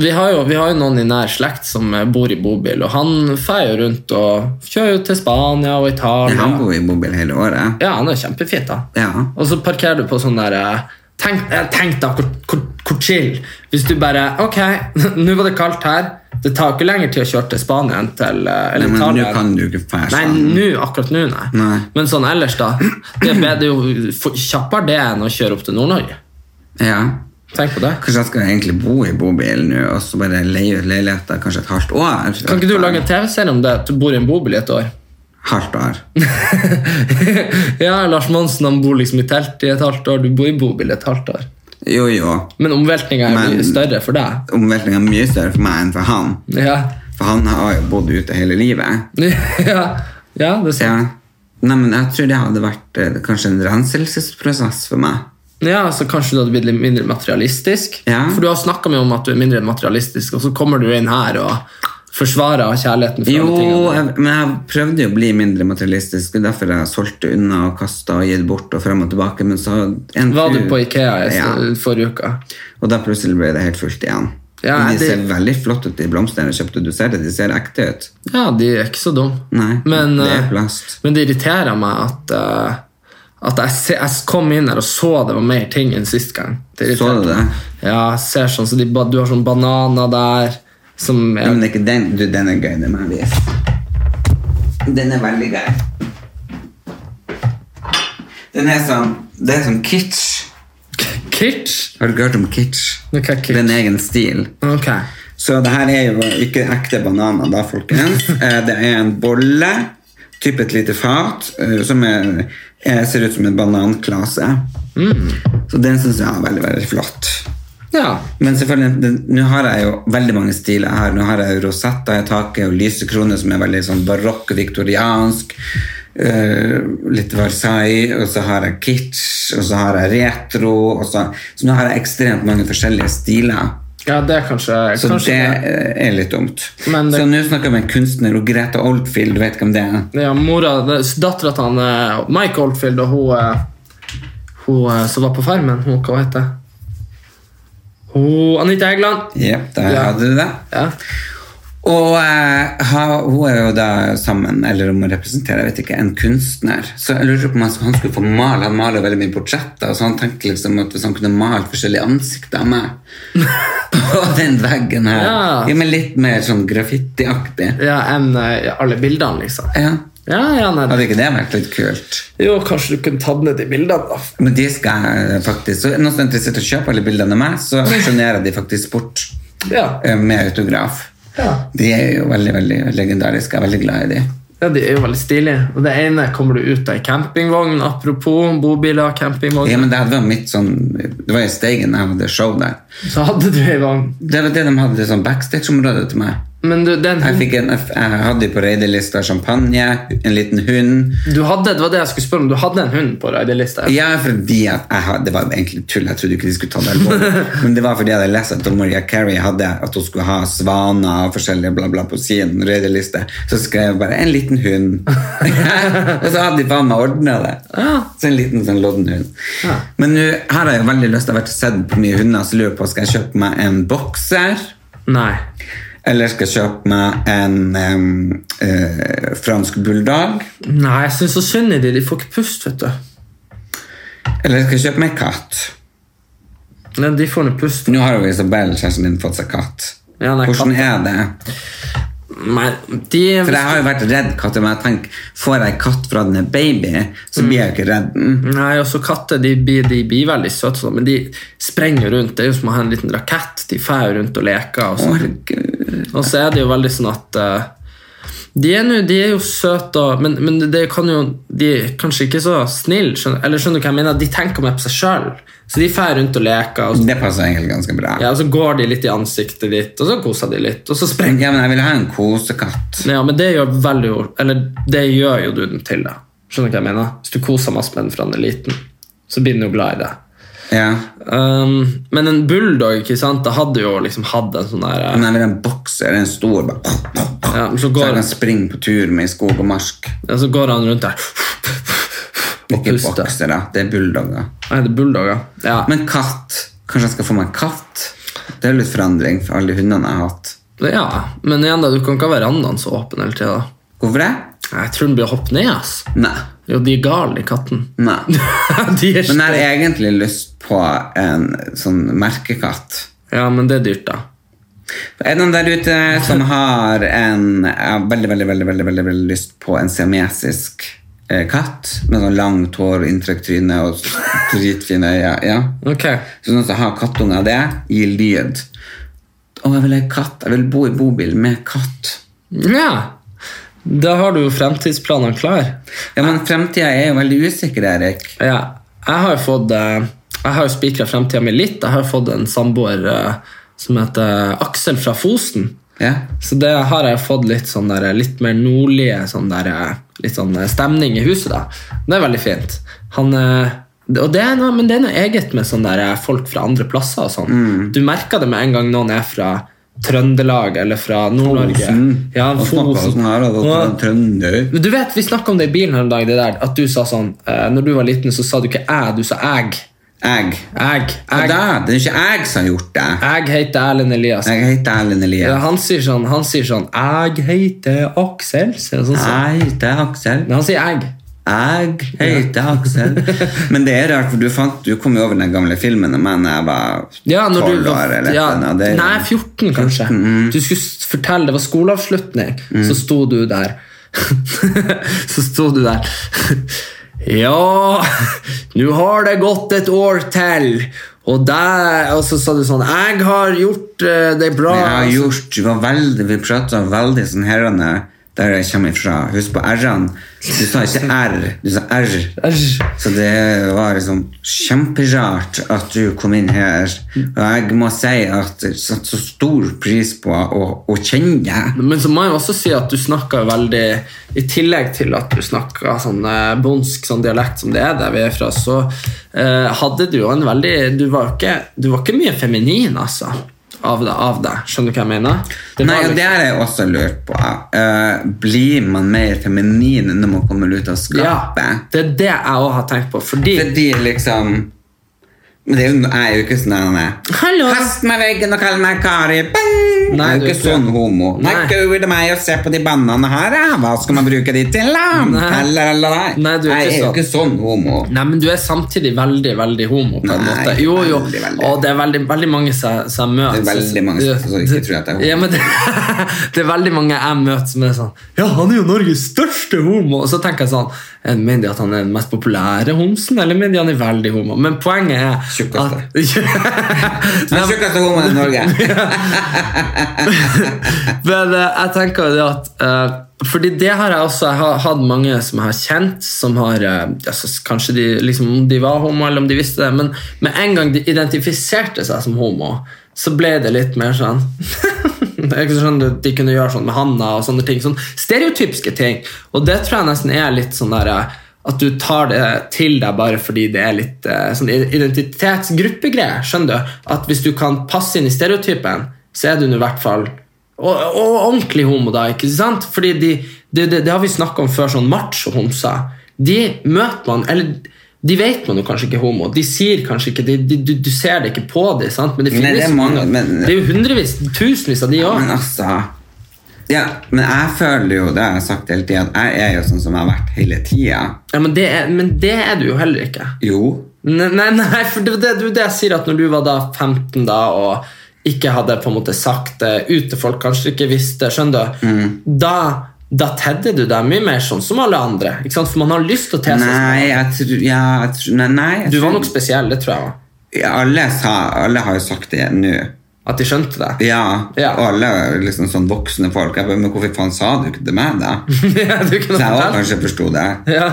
[SPEAKER 3] Vi har, jo, vi har jo noen i nær slekt som eh, bor i bobil, og han feier jo rundt og kjører jo til Spania og
[SPEAKER 1] Jeg
[SPEAKER 3] Italia.
[SPEAKER 1] har bodd i bobil hele året.
[SPEAKER 3] Ja, han er kjempefint, da.
[SPEAKER 1] Ja.
[SPEAKER 3] Og så parkerer du på sånn der eh, Tenk, eh, tenk da, hvor, hvor, hvor chill. Hvis du bare Ok, nå var det kaldt her. Det tar ikke lenger tid å kjøre til Spania enn til eh,
[SPEAKER 1] Nei,
[SPEAKER 3] eller
[SPEAKER 1] men nå
[SPEAKER 3] Italia.
[SPEAKER 1] kan du ikke fære
[SPEAKER 3] Nei,
[SPEAKER 1] sånn.
[SPEAKER 3] nå, akkurat nå, nei.
[SPEAKER 1] Nei.
[SPEAKER 3] Men sånn ellers, da. Det er bedre, jo f- kjappere det enn å kjøre opp til Nord-Norge.
[SPEAKER 1] Ja.
[SPEAKER 3] Tenk på det.
[SPEAKER 1] Kanskje jeg skal egentlig bo i bobil nå og så bare leie ut leiligheter kanskje et halvt år?
[SPEAKER 3] Kan ikke du lage en TV-serie om det? At du bor i en bobil i et år?
[SPEAKER 1] Halvt år.
[SPEAKER 3] ja, Lars Monsen han bor liksom i telt i et halvt år, du bor i bobil i et halvt år.
[SPEAKER 1] Jo, jo.
[SPEAKER 3] Men omveltninga er
[SPEAKER 1] Men-
[SPEAKER 3] mye større for deg.
[SPEAKER 1] Omveltningen er mye større for meg enn for han.
[SPEAKER 3] Ja,
[SPEAKER 1] For han har jo bodd ute hele livet.
[SPEAKER 3] ja. ja
[SPEAKER 1] Ja.
[SPEAKER 3] det ser
[SPEAKER 1] Nei, men jeg tror det hadde vært eh, kanskje en renselsesprosess for meg.
[SPEAKER 3] ja, så Kanskje du hadde blitt litt mindre materialistisk?
[SPEAKER 1] Ja.
[SPEAKER 3] For du har snakka mye om at du er mindre materialistisk, og så kommer du inn her og forsvarer kjærligheten. for
[SPEAKER 1] Jo,
[SPEAKER 3] alle tingene.
[SPEAKER 1] jeg, men jeg prøvde jo å bli mindre materialistisk. Det er derfor jeg solgte unna og kasta og gitt bort og frem og tilbake. Men så en
[SPEAKER 3] Var du
[SPEAKER 1] tur-
[SPEAKER 3] på Ikea i
[SPEAKER 1] Ja.
[SPEAKER 3] sted- forrige uke?
[SPEAKER 1] Og da plutselig ble det helt fullt igjen.
[SPEAKER 3] Ja,
[SPEAKER 1] Men de
[SPEAKER 3] det-
[SPEAKER 1] ser veldig flotte ut, de blomstene jeg kjøpte. Du ser det, de ser ekte ut.
[SPEAKER 3] Ja, de er ikke så dumme.
[SPEAKER 1] Nei,
[SPEAKER 3] men,
[SPEAKER 1] det er
[SPEAKER 3] eh,
[SPEAKER 1] plast.
[SPEAKER 3] men det irriterer meg at, eh, at jeg, se, jeg kom inn her og så det var mer ting enn sist gang. Det irriterer
[SPEAKER 1] Så du det?
[SPEAKER 3] meg. Ja, jeg ser sånn, så de, ba- du har sånn bananer der som
[SPEAKER 1] Ja, men det
[SPEAKER 3] er,
[SPEAKER 1] er ikke den. Du, den er gøy, den må jeg vise. Den er veldig gøy. Den er sånn Det er sånn kitsch.
[SPEAKER 3] Kitsch?
[SPEAKER 1] Har du ikke hørt om kitsch?
[SPEAKER 3] Nå kan jeg
[SPEAKER 1] Det er
[SPEAKER 3] kitsch.
[SPEAKER 1] en egen stil.
[SPEAKER 3] Ok.
[SPEAKER 1] Så det her er jo ikke ekte bananer, da, folkens. Eh, Det er en bolle, typ et lite fat, eh, som er, eh, ser ut som en bananklase. Så den syns jeg er veldig, veldig flott.
[SPEAKER 3] Ja.
[SPEAKER 1] Men selvfølgelig, den- nå har jeg jo veldig mange stiler her. Nå har jeg jo rosetter i taket og lysekroner som er veldig sånn barokk, viktoriansk. eh, litt Versailles, og så har jeg kitsch, og så har jeg retro. Og så, så nå har jeg ekstremt mange forskjellige stiler.
[SPEAKER 3] ja, det er kanskje,
[SPEAKER 1] Så
[SPEAKER 3] kanskje
[SPEAKER 1] det eh, er litt dumt.
[SPEAKER 3] Men det-
[SPEAKER 1] Så nå snakker jeg med en kunstner, og Greta Oldfield, du vet hvem det er?
[SPEAKER 3] Ja, mora, dattera til han, eh, Mike Oldfield og hun, eh, hun eh, som var på Farmen, hun, hva heter hun? Hun- Anita Egeland.
[SPEAKER 1] Jep, der
[SPEAKER 3] Ja.
[SPEAKER 1] hadde du det.
[SPEAKER 3] Ja.
[SPEAKER 1] Og eh, ha- hun er jo da sammen, eller om hun representerer, jeg vet ikke, en kunstner. Så jeg lurer på om han skulle- han skulle få male, han maler veldig mye portretter, så han tenkte liksom at hvis han kunne male forskjellige ansikter av meg på den veggen her,
[SPEAKER 3] Ja.
[SPEAKER 1] ja, men litt mer sånn graffitiaktig.
[SPEAKER 3] Ja, enn eh, alle bildene, liksom.
[SPEAKER 1] Ja,
[SPEAKER 3] Ja, ja, nei.
[SPEAKER 1] hadde ikke det vært litt kult?
[SPEAKER 3] Jo, kanskje du kunne tatt ned de bildene, da.
[SPEAKER 1] Men de skal jeg faktisk Så er det noen som er interessert i å kjøpe alle bildene av meg, så aksjonerer de faktisk bort
[SPEAKER 3] Ja.
[SPEAKER 1] eh, med autograf.
[SPEAKER 3] Ja.
[SPEAKER 1] De er jo veldig veldig legendariske. Jeg er veldig glad i de.
[SPEAKER 3] ja, de er jo veldig stilige. Og det ene kommer du ut av ei campingvogn, apropos bobiler og campingvogn.
[SPEAKER 1] Ja, men Det var mitt sånn Det var i Steigen jeg hadde show der.
[SPEAKER 3] Så hadde du ei vogn.
[SPEAKER 1] Det var det de hadde sånn backstage-område til meg.
[SPEAKER 3] Men du, den
[SPEAKER 1] Jeg,
[SPEAKER 3] hunden
[SPEAKER 1] fikk en, jeg hadde på raidelista champagne, en liten hund
[SPEAKER 3] du hadde, Det var det jeg skulle spørre om. Du hadde en hund på raidelista?
[SPEAKER 1] Ja, fordi at jeg har, Det var egentlig tull, jeg trodde ikke de skulle ta det alvorlig. Men det var fordi jeg hadde lest at Maria Carey hadde at hun skulle ha svaner og forskjellige bla bla på sin røydeliste. Så skrev jeg bare 'en liten hund'. og så hadde de faen meg ordna det.
[SPEAKER 3] Ja.
[SPEAKER 1] Så en liten sånn lodden hund.
[SPEAKER 3] Ja.
[SPEAKER 1] Men nå her har jeg jo veldig lyst til å ha vært sett på mye hunder, så lurer jeg på skal jeg kjøpe meg en bokser.
[SPEAKER 3] Nei.
[SPEAKER 1] Eller skal jeg kjøpe meg en em, eh, fransk bulldog?
[SPEAKER 3] Nei, jeg syns så synd i de. De får ikke pust, vet du.
[SPEAKER 1] Eller skal jeg kjøpe meg katt?
[SPEAKER 3] Nei, de får noe pust.
[SPEAKER 1] Nå har jo Isabel, kjæresten din, fått seg katt.
[SPEAKER 3] Ja, nei,
[SPEAKER 1] Hvordan
[SPEAKER 3] katt-
[SPEAKER 1] er det?
[SPEAKER 3] Nei, de
[SPEAKER 1] For jeg har jo vært redd katter, men jeg tenker, får jeg katt fra den er baby, så blir jeg jo ikke redd Mm. den.
[SPEAKER 3] Nei, også katter de, blir- de blir veldig søte, sånn, men de sprenger rundt. Det er jo som å ha en liten rakett. De fer rundt og leker. Og,
[SPEAKER 1] Å,
[SPEAKER 3] sånn.
[SPEAKER 1] herregud.
[SPEAKER 3] og så er det jo veldig sånn at eh, De er, nå- de er jo søte, og- men, men det kan jo, de er kanskje ikke så snille. Skjønner, eller skjønner du hva jeg mener? De tenker mer på seg sjøl. Så de drar rundt og leker, og så,
[SPEAKER 1] Det passer egentlig ganske bra.
[SPEAKER 3] ja, og så går de litt i ansiktet ditt, og så koser de litt, og så sprenger
[SPEAKER 1] Ja, men jeg vil ha en kosekatt.
[SPEAKER 3] Ja, men det gjør vel jo Eller det gjør jo du den til, da. Skjønner du hva jeg mener? Hvis du koser masse med den fra den er liten, så blir den jo glad i deg.
[SPEAKER 1] Ja.
[SPEAKER 3] Um, men en bulldog ikke sant? Da hadde jo liksom hatt en sånn der eh,
[SPEAKER 1] Men jeg vil ha en bokser, en stor, bare
[SPEAKER 3] ja, så,
[SPEAKER 1] Så jeg
[SPEAKER 3] går,
[SPEAKER 1] kan springe på tur med i skog og marsk.
[SPEAKER 3] ja, så går han rundt der og
[SPEAKER 1] Ikke
[SPEAKER 3] puster.
[SPEAKER 1] boksere, det er bulldogger.
[SPEAKER 3] Nei, det er bulldoger. Ja.
[SPEAKER 1] Men katt. Kanskje jeg skal få meg en katt? Det er jo litt forandring for alle de hundene jeg har hatt.
[SPEAKER 3] ja, men igjen, da, du kan ikke ha verandaen så åpen hele tida.
[SPEAKER 1] Hvorfor det?
[SPEAKER 3] Jeg tror den blir å hoppe ned, ass.
[SPEAKER 1] Nei.
[SPEAKER 3] Jo, de er gale, de kattene.
[SPEAKER 1] Nei.
[SPEAKER 3] de er
[SPEAKER 1] Men jeg har egentlig lyst på en sånn merkekatt.
[SPEAKER 3] Ja, men det er dyrt, da.
[SPEAKER 1] Er det noen der ute som har en Jeg har veldig, veldig, veldig, veldig, veldig, veldig lyst på en siamesisk eh, katt med sånn langt hår, inntrykt tryne og dritfine øyne? Ja.
[SPEAKER 3] Ok.
[SPEAKER 1] Sånn at jeg har kattunger av det, gir lyd. Å, jeg vil ha katt. Jeg vil bo i bobil med katt.
[SPEAKER 3] Ja. Da har du jo fremtidsplanene klar.
[SPEAKER 1] Ja, men fremtida er jo veldig usikker, Erik.
[SPEAKER 3] Ja, jeg har jo fått eh, Jeg har jo spikra fremtida mi litt. Jeg har jo fått en samboer eh, som heter Aksel fra Fosen.
[SPEAKER 1] Ja.
[SPEAKER 3] Så det har jeg fått litt sånn der, litt mer nordlige sånn der, eh, litt sånn eh, stemning i huset. da. Det er veldig fint. Han, eh, det- og det er noe, men det er noe eget med sånn der, eh, folk fra andre plasser. og sånn.
[SPEAKER 1] Mm.
[SPEAKER 3] Du merker det med en gang noen er fra Trøndelag eller fra Nord-Norge.
[SPEAKER 1] Fosen.
[SPEAKER 3] Ja,
[SPEAKER 1] Han snakker
[SPEAKER 3] Fosen.
[SPEAKER 1] sånn her, og da
[SPEAKER 3] Og-
[SPEAKER 1] trønder.
[SPEAKER 3] men Du vet, Vi snakka om det i bilen her en dag, det der, at du sa sånn eh, Når du var liten, så sa du ikke 'æ', du sa 'æg'.
[SPEAKER 1] Jeg.
[SPEAKER 3] Jeg,
[SPEAKER 1] Ja,
[SPEAKER 3] jeg,
[SPEAKER 1] da, det er ikke jeg som har gjort det.
[SPEAKER 3] jeg heter Erlend Elias.
[SPEAKER 1] Jeg heter Erlend
[SPEAKER 3] Ja,
[SPEAKER 1] Elias.
[SPEAKER 3] han sier sånn Han sier sånn Jeg heter Aksel. Sier han sånn, sånn.
[SPEAKER 1] Jeg heter Aksel.
[SPEAKER 3] Men han sier jeg.
[SPEAKER 1] Jeg heter Aksel. Men det er rart, for du, fant, du kom jo over den gamle filmen om meg da jeg var
[SPEAKER 3] Ja, når du
[SPEAKER 1] 12 år. eller
[SPEAKER 3] ja,
[SPEAKER 1] noe, det er jo-
[SPEAKER 3] Nei, 14, kanskje. Du skulle s- fortelle det var skoleavslutning, så sto du der. så sto du der. Ja, nå har det gått et år til. Og, der, og så sa du sånn Jeg har gjort eh, det bra.
[SPEAKER 1] Jeg har gjort, vi, var veldig, vi prata veldig sånn herrene der jeg kommer ifra. Husk på R-ene. Du sa ikke R, du sa R.
[SPEAKER 3] Æsj.
[SPEAKER 1] Så det var liksom kjemperart at du kom inn her. Og jeg må si at jeg satte så stor pris på å, å kjenne deg.
[SPEAKER 3] Men så må jeg også si at du snakker veldig I tillegg til at du snakker sånn eh, bondsk sånn dialekt som det er der vi er fra, så eh, hadde du jo en veldig Du var ikke, du var ikke mye feminin, altså. Av deg, av deg. Skjønner du hva jeg mener? Det var
[SPEAKER 1] Nei, og
[SPEAKER 3] liksom-
[SPEAKER 1] Det har jeg også lurt på. Eh, blir man mer feminin når man kommer ut av skapet?
[SPEAKER 3] ja, det er det jeg òg har tenkt på. Fordi
[SPEAKER 1] Fordi liksom Men det er jo, jeg er jo ikke sånn der, nei.
[SPEAKER 3] Hallo!
[SPEAKER 1] Kast meg i veggen og kall meg Kari. Bang! jeg
[SPEAKER 3] Nei,
[SPEAKER 1] er
[SPEAKER 3] du
[SPEAKER 1] jo
[SPEAKER 3] er
[SPEAKER 1] ikke
[SPEAKER 3] ikke
[SPEAKER 1] sånn
[SPEAKER 3] det.
[SPEAKER 1] homo.
[SPEAKER 3] Nei.
[SPEAKER 1] Takk over til meg og se på de bannene her. ja. Hva skal man bruke de til? da?
[SPEAKER 3] Nei.
[SPEAKER 1] Lalalala.
[SPEAKER 3] Nei, du er
[SPEAKER 1] jeg
[SPEAKER 3] ikke
[SPEAKER 1] er jo
[SPEAKER 3] sånn.
[SPEAKER 1] ikke sånn homo.
[SPEAKER 3] Nei, men du er samtidig veldig, veldig homo. på en
[SPEAKER 1] Nei,
[SPEAKER 3] måte. Jo, jo.
[SPEAKER 1] veldig, veldig.
[SPEAKER 3] Og det er veldig, veldig mange som som jeg møter.
[SPEAKER 1] Det er veldig mange som- som ikke tror at jeg er homo.
[SPEAKER 3] Ja, men det, det er veldig mange jeg møter som er sånn Ja, han er jo Norges største homo! Og så tenker jeg sånn eh, Mener de at han er den mest populære homsen, eller mener de han er veldig homo? Men poenget er
[SPEAKER 1] Tjukkeste.
[SPEAKER 3] at-
[SPEAKER 1] Den tjukkeste homoen i Norge.
[SPEAKER 3] Men eh, jeg tenker jo det at eh, Fordi det har jeg også Jeg har hatt mange som jeg har kjent Som har, eh, ja, så s- kanskje de, liksom, om de var homo Eller om de visste det Men med en gang de identifiserte seg som homo Så ble det litt mer sånn Det er ikke sånn at de kunne gjøre sånn med handa Og sånne ting, sånn stereotypiske ting Og det tror jeg nesten er litt sånn der eh, at du tar det til deg bare fordi det er litt eh, sånn identitetsgruppegreier, skjønner du? At hvis du kan passe inn i stereotypen, så er du nå i hvert fall og, og ordentlig homo, da. ikke sant? Fordi de, det- det- Det har vi snakka om før, sånn macho-homser. De møter man Eller de vet man jo kanskje ikke er homo. De sier kanskje ikke de, de, Du du ser det ikke på dem, sant? men det
[SPEAKER 1] Nei,
[SPEAKER 3] finnes
[SPEAKER 1] det er
[SPEAKER 3] jo
[SPEAKER 1] mange, men-
[SPEAKER 3] Det er jo hundrevis, tusenvis av de
[SPEAKER 1] Men
[SPEAKER 3] òg.
[SPEAKER 1] altså ja, men jeg føler jo det har jeg sagt hele tida, at jeg er jo sånn som jeg har vært hele tida.
[SPEAKER 3] Ja, men, det er- men det er du jo heller ikke.
[SPEAKER 1] Jo.
[SPEAKER 3] Nei, nei, nei for det, det, det, er jo det jeg sier at når du var da 15 da og ikke hadde på en måte sagt det ut til folk, kanskje ikke visste, skjønner du?
[SPEAKER 1] Mm.
[SPEAKER 3] Da, da tedde du deg mye mer sånn som alle andre, ikke sant? For man har lyst til å te seg sånn.
[SPEAKER 1] Nei, jeg tror ja, jeg tror- Nei, nei jeg
[SPEAKER 3] Du var
[SPEAKER 1] tror-
[SPEAKER 3] nok spesiell, det tror jeg.
[SPEAKER 1] Ja, alle, sa, alle har jo sagt det nå.
[SPEAKER 3] At de skjønte det.
[SPEAKER 1] Ja,
[SPEAKER 3] Ja.
[SPEAKER 1] og alle liksom sånn voksne folk. Jeg bare, men hvorfor faen sa du ikke det til meg, da?
[SPEAKER 3] Ja,
[SPEAKER 1] Så
[SPEAKER 3] du kunne
[SPEAKER 1] jeg også
[SPEAKER 3] fortalt.
[SPEAKER 1] kanskje forsto det.
[SPEAKER 3] Ja.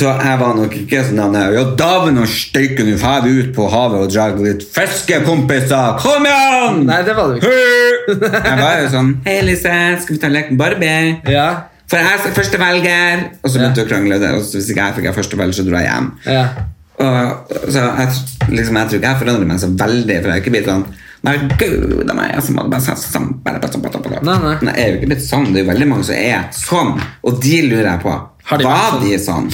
[SPEAKER 1] Så jeg var nok ikke sånn han er, Ja, daven og støyken, nå fær vi ut på havet og drar litt fiske, kompiser! Kom igjen!
[SPEAKER 3] Nei, det var du ikke.
[SPEAKER 1] Hei! Jeg var jo sånn Hei, Elise, skal vi ta leken Barbie?
[SPEAKER 3] Ja.
[SPEAKER 1] For jeg er førstevelger! Og så begynte
[SPEAKER 3] Ja.
[SPEAKER 1] vi å krangle, der, og så hvis ikke jeg fikk jeg førstevelger, så dro jeg hjem.
[SPEAKER 3] Ja.
[SPEAKER 1] Og, så jeg, liksom, jeg tror ikke jeg forandrer meg så veldig, for jeg er ikke blitt sånn Nei, gud a meg! Altså, man bare sånn, sånn, bare, bare, bare, bare.
[SPEAKER 3] Nei, nei.
[SPEAKER 1] Men jeg er jo ikke blitt sånn. Det er jo veldig mange som er sånn, og de lurer jeg på.
[SPEAKER 3] Har de
[SPEAKER 1] var
[SPEAKER 3] vært
[SPEAKER 1] de sånn?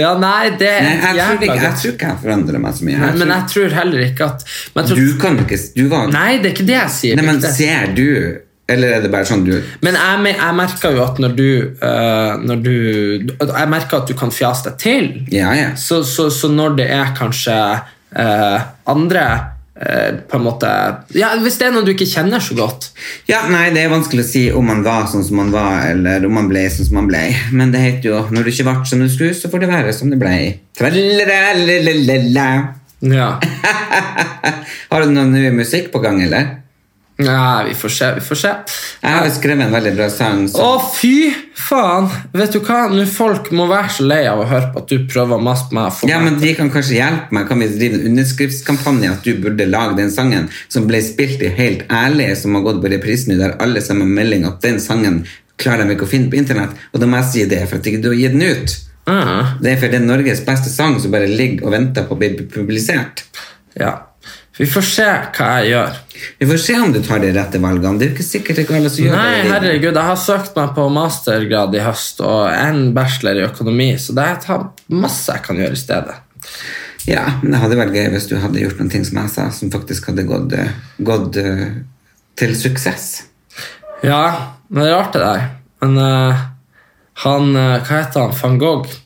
[SPEAKER 3] ja, nei, det
[SPEAKER 1] Nei,
[SPEAKER 3] er
[SPEAKER 1] jeg, tror ikke,
[SPEAKER 3] jævla
[SPEAKER 1] jeg
[SPEAKER 3] godt.
[SPEAKER 1] tror ikke jeg forandrer meg så mye.
[SPEAKER 3] Nei,
[SPEAKER 1] Jeg
[SPEAKER 3] Men
[SPEAKER 1] tror,
[SPEAKER 3] jeg tror heller ikke at men jeg tror,
[SPEAKER 1] du kan jo ikke Du var
[SPEAKER 3] Nei, det er ikke det jeg sier.
[SPEAKER 1] Nei,
[SPEAKER 3] det er
[SPEAKER 1] men
[SPEAKER 3] ikke det.
[SPEAKER 1] ser du Eller er det bare sånn du
[SPEAKER 3] Men jeg, me- jeg merker jo at når du, eh, når du Jeg merker at du kan fjase deg til.
[SPEAKER 1] Ja, ja.
[SPEAKER 3] Så, så, så når det er kanskje eh, andre eh, på en måte Ja, Hvis det er noen du ikke kjenner så godt.
[SPEAKER 1] Ja, nei, det er vanskelig å si om man var sånn som man var, eller om man ble sånn som man ble. Men det heter jo når du ikke ble som du skulle, så får det være som det ble. Tralalalalala.
[SPEAKER 3] Ja.
[SPEAKER 1] Har du noen ny musikk på gang, eller?
[SPEAKER 3] Nei, vi får se. Vi får se.
[SPEAKER 1] Jeg har jo skrevet en veldig bra sang.
[SPEAKER 3] Å,
[SPEAKER 1] Så.
[SPEAKER 3] fy faen! Vet du hva? Nå Folk må være så lei av å høre på at du prøver å mase på meg. og få
[SPEAKER 1] Ja,
[SPEAKER 3] meg-
[SPEAKER 1] men De kan kanskje hjelpe meg. Kan vi drive en underskriftskampanje at du burde lage den sangen som ble spilt i Helt ærlig, som har gått på reprisen, der alle sammen har melding at den sangen klarer de ikke å finne på internett? Og da må jeg si det, for at ikke du har gitt den ut.
[SPEAKER 3] Ah,
[SPEAKER 1] Det er for det er Norges beste sang som bare ligger og venter på å bli publisert.
[SPEAKER 3] ja. Vi får se hva jeg gjør.
[SPEAKER 1] Vi får se om du tar de rette valgene. Det er jo ikke sikkert ikke alle som gjør
[SPEAKER 3] Nei,
[SPEAKER 1] det.
[SPEAKER 3] herregud, jeg har søkt meg på mastergrad i høst og en bachelor i økonomi, så det er ta- masse jeg kan gjøre i stedet.
[SPEAKER 1] Ja, men det hadde vært gøy hvis du hadde gjort noen ting som jeg sa, som faktisk hadde gått, eh, gått eh, til suksess.
[SPEAKER 3] Ja, men det er rart det der. Men eh, han, eh, hva heter han, van Gogh,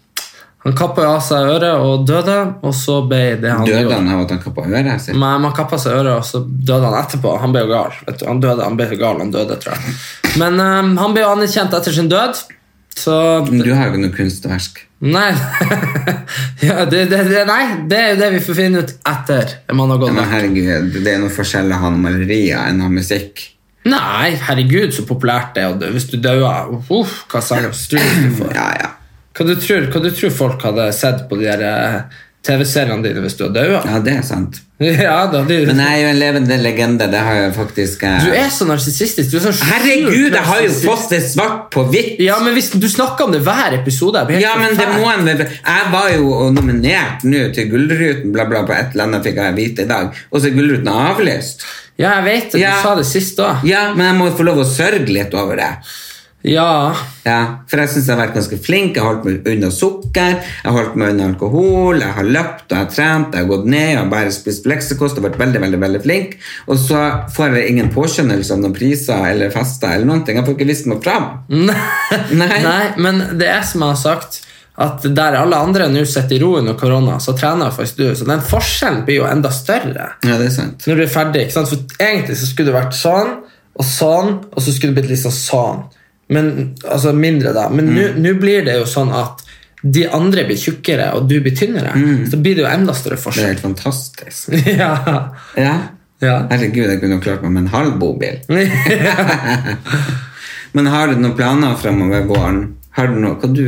[SPEAKER 3] han kappet av seg øret og døde, og så ble det han
[SPEAKER 1] Døde
[SPEAKER 3] gjorde.
[SPEAKER 1] han av at han kappa øret sitt?
[SPEAKER 3] Men man kappet seg øret, og så døde han etterpå. Han ble jo gal. Vet du. Han døde, han ble jo gal, han døde, tror jeg. Men eh, han ble jo anerkjent etter sin død, så...
[SPEAKER 1] Men Du har jo ikke noe kunstverk.
[SPEAKER 3] Nei. ja, det, det, det, nei, det er jo det vi får finne ut etter man har
[SPEAKER 1] Ja,
[SPEAKER 3] gått
[SPEAKER 1] Men
[SPEAKER 3] med.
[SPEAKER 1] herregud, det er noe forskjell å ha noen malerier enn å ha musikk.
[SPEAKER 3] Nei, herregud, så populært det er. å dø. Hvis du dauer uff, Hva slags strus du får.
[SPEAKER 1] Ja, ja.
[SPEAKER 3] Hva du tror, hva du tror folk hadde sett på de der eh, TV-seriene dine hvis du hadde daua?
[SPEAKER 1] Ja, det er sant.
[SPEAKER 3] Ja, da hadde
[SPEAKER 1] Men
[SPEAKER 3] du
[SPEAKER 1] jeg er jo en levende legende. Det har jeg faktisk eh,
[SPEAKER 3] Du er så narsissistisk. du er så sjukt
[SPEAKER 1] Herregud, jeg har jo
[SPEAKER 3] narsissist.
[SPEAKER 1] fått det svart på hvitt!
[SPEAKER 3] Ja, men hvis, Du snakker om det hver episode. jeg blir helt
[SPEAKER 1] Ja, men det
[SPEAKER 3] forferdelig.
[SPEAKER 1] må en vel Jeg var jo nominert nå til Gullruten, bla, bla, på et eller annet fikk jeg vite i dag. Og så er Gullruten avlyst.
[SPEAKER 3] Ja, jeg vet det. Du
[SPEAKER 1] Ja.
[SPEAKER 3] sa det sist òg.
[SPEAKER 1] Ja, men jeg må jo få lov å sørge litt over det.
[SPEAKER 3] Ja.
[SPEAKER 1] Ja, For jeg syns jeg har vært ganske flink. Jeg har holdt meg unna sukker, jeg har holdt meg unna alkohol, jeg har løpt og jeg har trent, jeg har gått ned, jeg har bare spist leksekost og vært veldig veldig, veldig flink. Og så får jeg ingen påskjønnelse av noen priser eller fester eller noen ting. Jeg får ikke vist meg fram. Nei.
[SPEAKER 3] Nei. men det er som jeg har sagt, at der alle andre nå sitter i ro under korona, så trener faktisk du. Så den forskjellen blir jo enda større
[SPEAKER 1] Ja, det er sant.
[SPEAKER 3] når du er ferdig. ikke sant? For egentlig så skulle det vært sånn og sånn, og så skulle det blitt litt sånn sånn. Men, altså mindre, da. Men nå nå blir det jo sånn at de andre blir tjukkere, og du blir tynnere. Så blir det jo enda større
[SPEAKER 1] Det er
[SPEAKER 3] forskjell.
[SPEAKER 1] helt fantastisk.
[SPEAKER 3] ja.
[SPEAKER 1] Ja.
[SPEAKER 3] ja.
[SPEAKER 1] Herregud, jeg kunne jo klart meg med en halv bobil.
[SPEAKER 3] ja.
[SPEAKER 1] Men har du noen planer fremover våren? Har du noe hva du,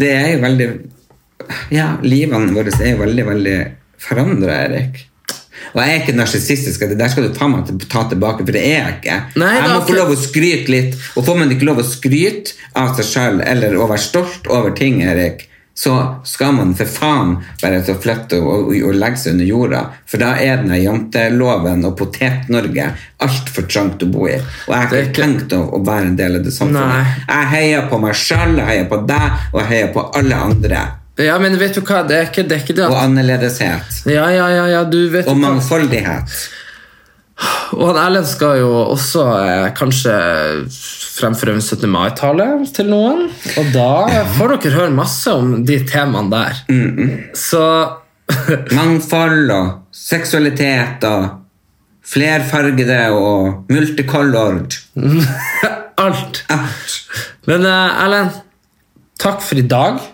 [SPEAKER 1] Det er jo veldig Ja, livene våre er jo veldig, veldig forandra, Erik. Og jeg er ikke narsissistisk, det der skal du ta meg til, ta tilbake, for det er jeg ikke.
[SPEAKER 3] Nei,
[SPEAKER 1] jeg
[SPEAKER 3] da,
[SPEAKER 1] må få
[SPEAKER 3] for-
[SPEAKER 1] lov å skryte litt, og får man ikke lov å skryte av seg sjøl eller å være stolt over ting, Erik, så skal man for faen bare så flytte og, og, og legge seg under jorda, for da er den her janteloven og Potet-Norge altfor trangt å bo i. Og jeg har
[SPEAKER 3] Det er
[SPEAKER 1] ikke
[SPEAKER 3] ikke-
[SPEAKER 1] tenkt å, å være en del av det
[SPEAKER 3] Nei.
[SPEAKER 1] samfunnet. Jeg heier på meg sjøl, jeg heier på deg, og jeg heier på alle andre.
[SPEAKER 3] ja, men vet du hva, det er ikke det, er ikke det
[SPEAKER 1] Og
[SPEAKER 3] at
[SPEAKER 1] annerledeshet.
[SPEAKER 3] Ja, ja, ja, ja, du vet
[SPEAKER 1] Og
[SPEAKER 3] jo hva-
[SPEAKER 1] mangfoldighet.
[SPEAKER 3] Og han Erlend skal jo også eh, kanskje fremføre en 17. mai-tale til noen. Og da får dere høre masse om de temaene der. Så
[SPEAKER 1] Mangfold og seksualitet og flerfargede og multicolored.
[SPEAKER 3] alt. Men eh, Erlend, takk for i dag.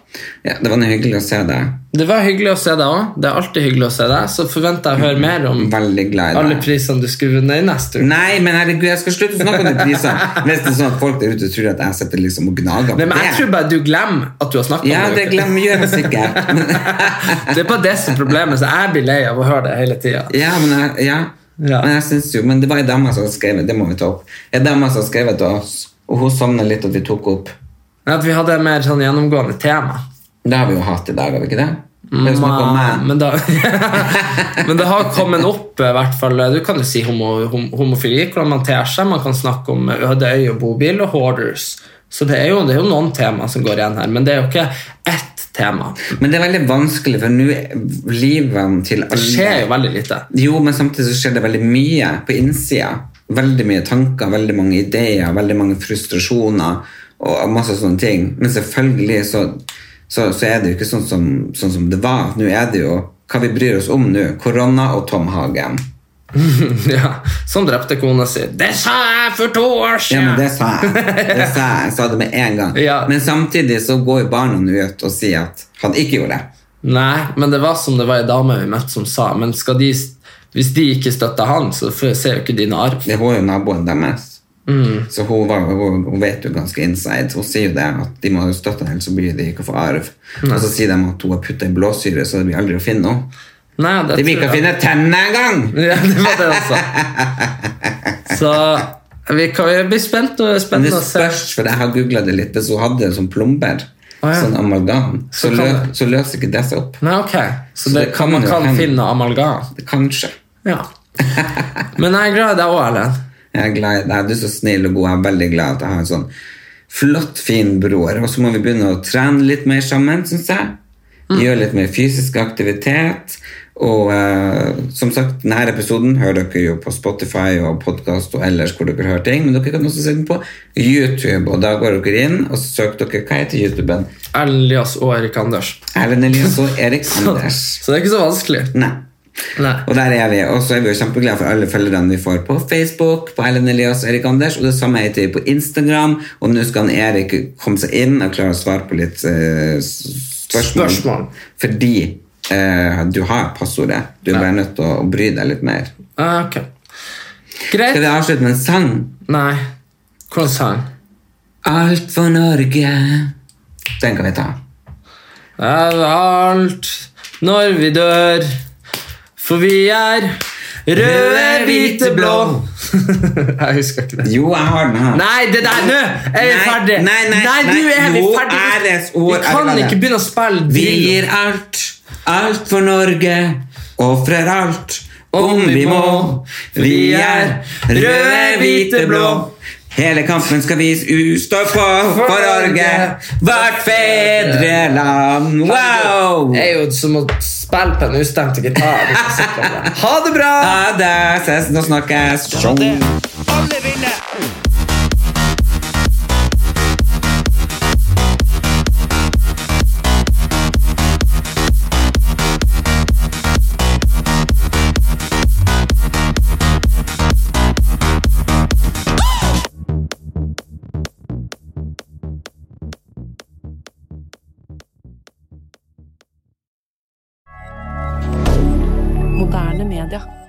[SPEAKER 1] Ja, det var noe hyggelig å se deg.
[SPEAKER 3] Det var hyggelig å se deg òg. Det er alltid hyggelig å se deg. Så forventer jeg å høre mer om
[SPEAKER 1] Veldig glad i
[SPEAKER 3] alle
[SPEAKER 1] deg.
[SPEAKER 3] prisene du skulle vunnet i neste uke.
[SPEAKER 1] Nei, men herregud, jeg skal slutte å snakke om de prisene. Hvis det er sånn at folk der ute tror at jeg sitter liksom og gnager på
[SPEAKER 3] Nei, men jeg tror bare du glemmer at du har snakket
[SPEAKER 1] Ja,
[SPEAKER 3] om
[SPEAKER 1] det
[SPEAKER 3] det.
[SPEAKER 1] glemmer jeg sikkert. Men,
[SPEAKER 3] Det er bare det som er problemet, så jeg blir lei av å høre det hele tida.
[SPEAKER 1] ja, men, jeg, ja.
[SPEAKER 3] Ja.
[SPEAKER 1] men jeg synes jo Men det var ei dame som skrev det må vi ta opp. En dame som skrev det til oss, og hun sovna litt, og vi tok opp.
[SPEAKER 3] At vi hadde et mer sånn gjennomgående tema.
[SPEAKER 1] Det har vi jo hatt i dag, har vi ikke det? Det er jo snakk om meg.
[SPEAKER 3] Mm. Men, da, men det har kommet opp, i hvert fall. Du kan jo si homo, hom, homofili, hvordan man ter seg. Man kan snakke om øde øy og bobil og hoarders. Så det er, jo, det er jo noen tema som går igjen her, men det er jo ikke ett tema.
[SPEAKER 1] Men det er veldig vanskelig, for nå er livet til
[SPEAKER 3] Det skjer
[SPEAKER 1] alle
[SPEAKER 3] jo veldig lite.
[SPEAKER 1] Jo, men samtidig så skjer det veldig mye på innsida. Veldig mye tanker, veldig mange ideer, veldig mange frustrasjoner og masse sånne ting. Men selvfølgelig så, så, så er det jo ikke sånn som, sånn som det var. Nå er det jo hva vi bryr oss om nå. Korona og Tom Hagen.
[SPEAKER 3] ja, som drepte kona si. Det sa jeg for to år
[SPEAKER 1] Ja,
[SPEAKER 3] siden!
[SPEAKER 1] men det sa jeg. Det sa jeg. jeg sa det med en gang.
[SPEAKER 3] Ja.
[SPEAKER 1] Men samtidig så går jo barna nå ut og sier at han ikke gjorde det.
[SPEAKER 3] Nei, men det var som det var ei dame vi møtte som sa Men skal de, hvis de ikke støtter han, så får- ser jo ikke de noen arv.
[SPEAKER 1] Det var jo naboen deres.
[SPEAKER 3] Mm.
[SPEAKER 1] Så hun, var, hun, hun vet jo ganske inside. Hun sier jo det at de må jo støtte henne, ellers så blir de ikke å få arv. Og så sier de at hun har putta i blåsyre, så det blir aldri å finne henne.
[SPEAKER 3] Nei, det
[SPEAKER 1] De vil
[SPEAKER 3] tror
[SPEAKER 1] ikke
[SPEAKER 3] jeg-
[SPEAKER 1] finne tennene engang!
[SPEAKER 3] Ja, det var det han sa. Så vi kan vi blir spent og
[SPEAKER 1] Men det
[SPEAKER 3] spennende å se.
[SPEAKER 1] spørs, for jeg har googla det litt, hvis hun hadde det som plomber,
[SPEAKER 3] Å, ja.
[SPEAKER 1] sånn amalgam, så,
[SPEAKER 3] Så
[SPEAKER 1] lø,
[SPEAKER 3] kan-
[SPEAKER 1] så løser ikke det seg opp.
[SPEAKER 3] Nei, ok. Så,
[SPEAKER 1] Så
[SPEAKER 3] det,
[SPEAKER 1] det
[SPEAKER 3] kan
[SPEAKER 1] kan
[SPEAKER 3] man
[SPEAKER 1] jo
[SPEAKER 3] kan
[SPEAKER 1] hende.
[SPEAKER 3] finne amalgam.
[SPEAKER 1] Kanskje.
[SPEAKER 3] Ja. Men jeg er glad i deg òg, Erlend.
[SPEAKER 1] Jeg er glad i deg. Du er så snill og god. Jeg er veldig glad at jeg har en sånn flott, fin bror. Og så må vi begynne å trene litt mer sammen, syns jeg. Gjøre litt mer fysisk aktivitet. Og eh, som sagt, denne episoden hører dere jo på Spotify og podkast og ellers hvor dere hører ting, men dere kan også se den på YouTube. Og da går dere inn og søker dere Hva heter YouTuben?
[SPEAKER 3] Erlend Elias og Erik Anders.
[SPEAKER 1] Erlend Elias og Erik
[SPEAKER 3] Så,
[SPEAKER 1] Anders.
[SPEAKER 3] så det er ikke så vanskelig.
[SPEAKER 1] Nei.
[SPEAKER 3] Nei.
[SPEAKER 1] Og der er vi, og så er vi jo kjempeglade for alle følgerne vi får på Facebook, på Ellen Elias og Erik Anders, og det samme heter vi på Instagram, og nå skal han Erik komme seg inn og klare å svare på litt eh, s- spørsmål.
[SPEAKER 3] Spørsmål.
[SPEAKER 1] Fordi eh, du har passordet. Du er bare nødt til å, å bry deg litt mer.
[SPEAKER 3] Ah, Ok.
[SPEAKER 1] Skal
[SPEAKER 3] Greit.
[SPEAKER 1] vi avslutte med en sang?
[SPEAKER 3] Nei. Hvordan sa han?
[SPEAKER 1] Alt for Norge. Den kan vi ta.
[SPEAKER 3] Er alt når vi dør, for vi er røde, hvite, blå. Jeg husker ikke det.
[SPEAKER 1] Jo, jeg har den her.
[SPEAKER 3] Nei, det der, nå er vi
[SPEAKER 1] Nei,
[SPEAKER 3] ferdig
[SPEAKER 1] nei, nei,
[SPEAKER 3] nå er
[SPEAKER 1] nei,
[SPEAKER 3] vi
[SPEAKER 1] nå
[SPEAKER 3] ferdig
[SPEAKER 1] er det et ord,
[SPEAKER 3] Vi kan
[SPEAKER 1] Erlend.
[SPEAKER 3] ikke begynne å spille
[SPEAKER 1] Vi
[SPEAKER 3] drill.
[SPEAKER 1] gir alt, alt for Norge, ofrer alt om vi må. Vi er røde, hvite, blå. Hele kampen skal vi u- stå på for Norge, vårt fedreland. Wow!
[SPEAKER 3] Det er jo som å spille på en ustemt gitar hvis jeg sitter på det. Ha det bra!
[SPEAKER 1] Ha det. Ses og snakkes. Tjong.
[SPEAKER 2] Alle vinner!
[SPEAKER 4] Moderne media.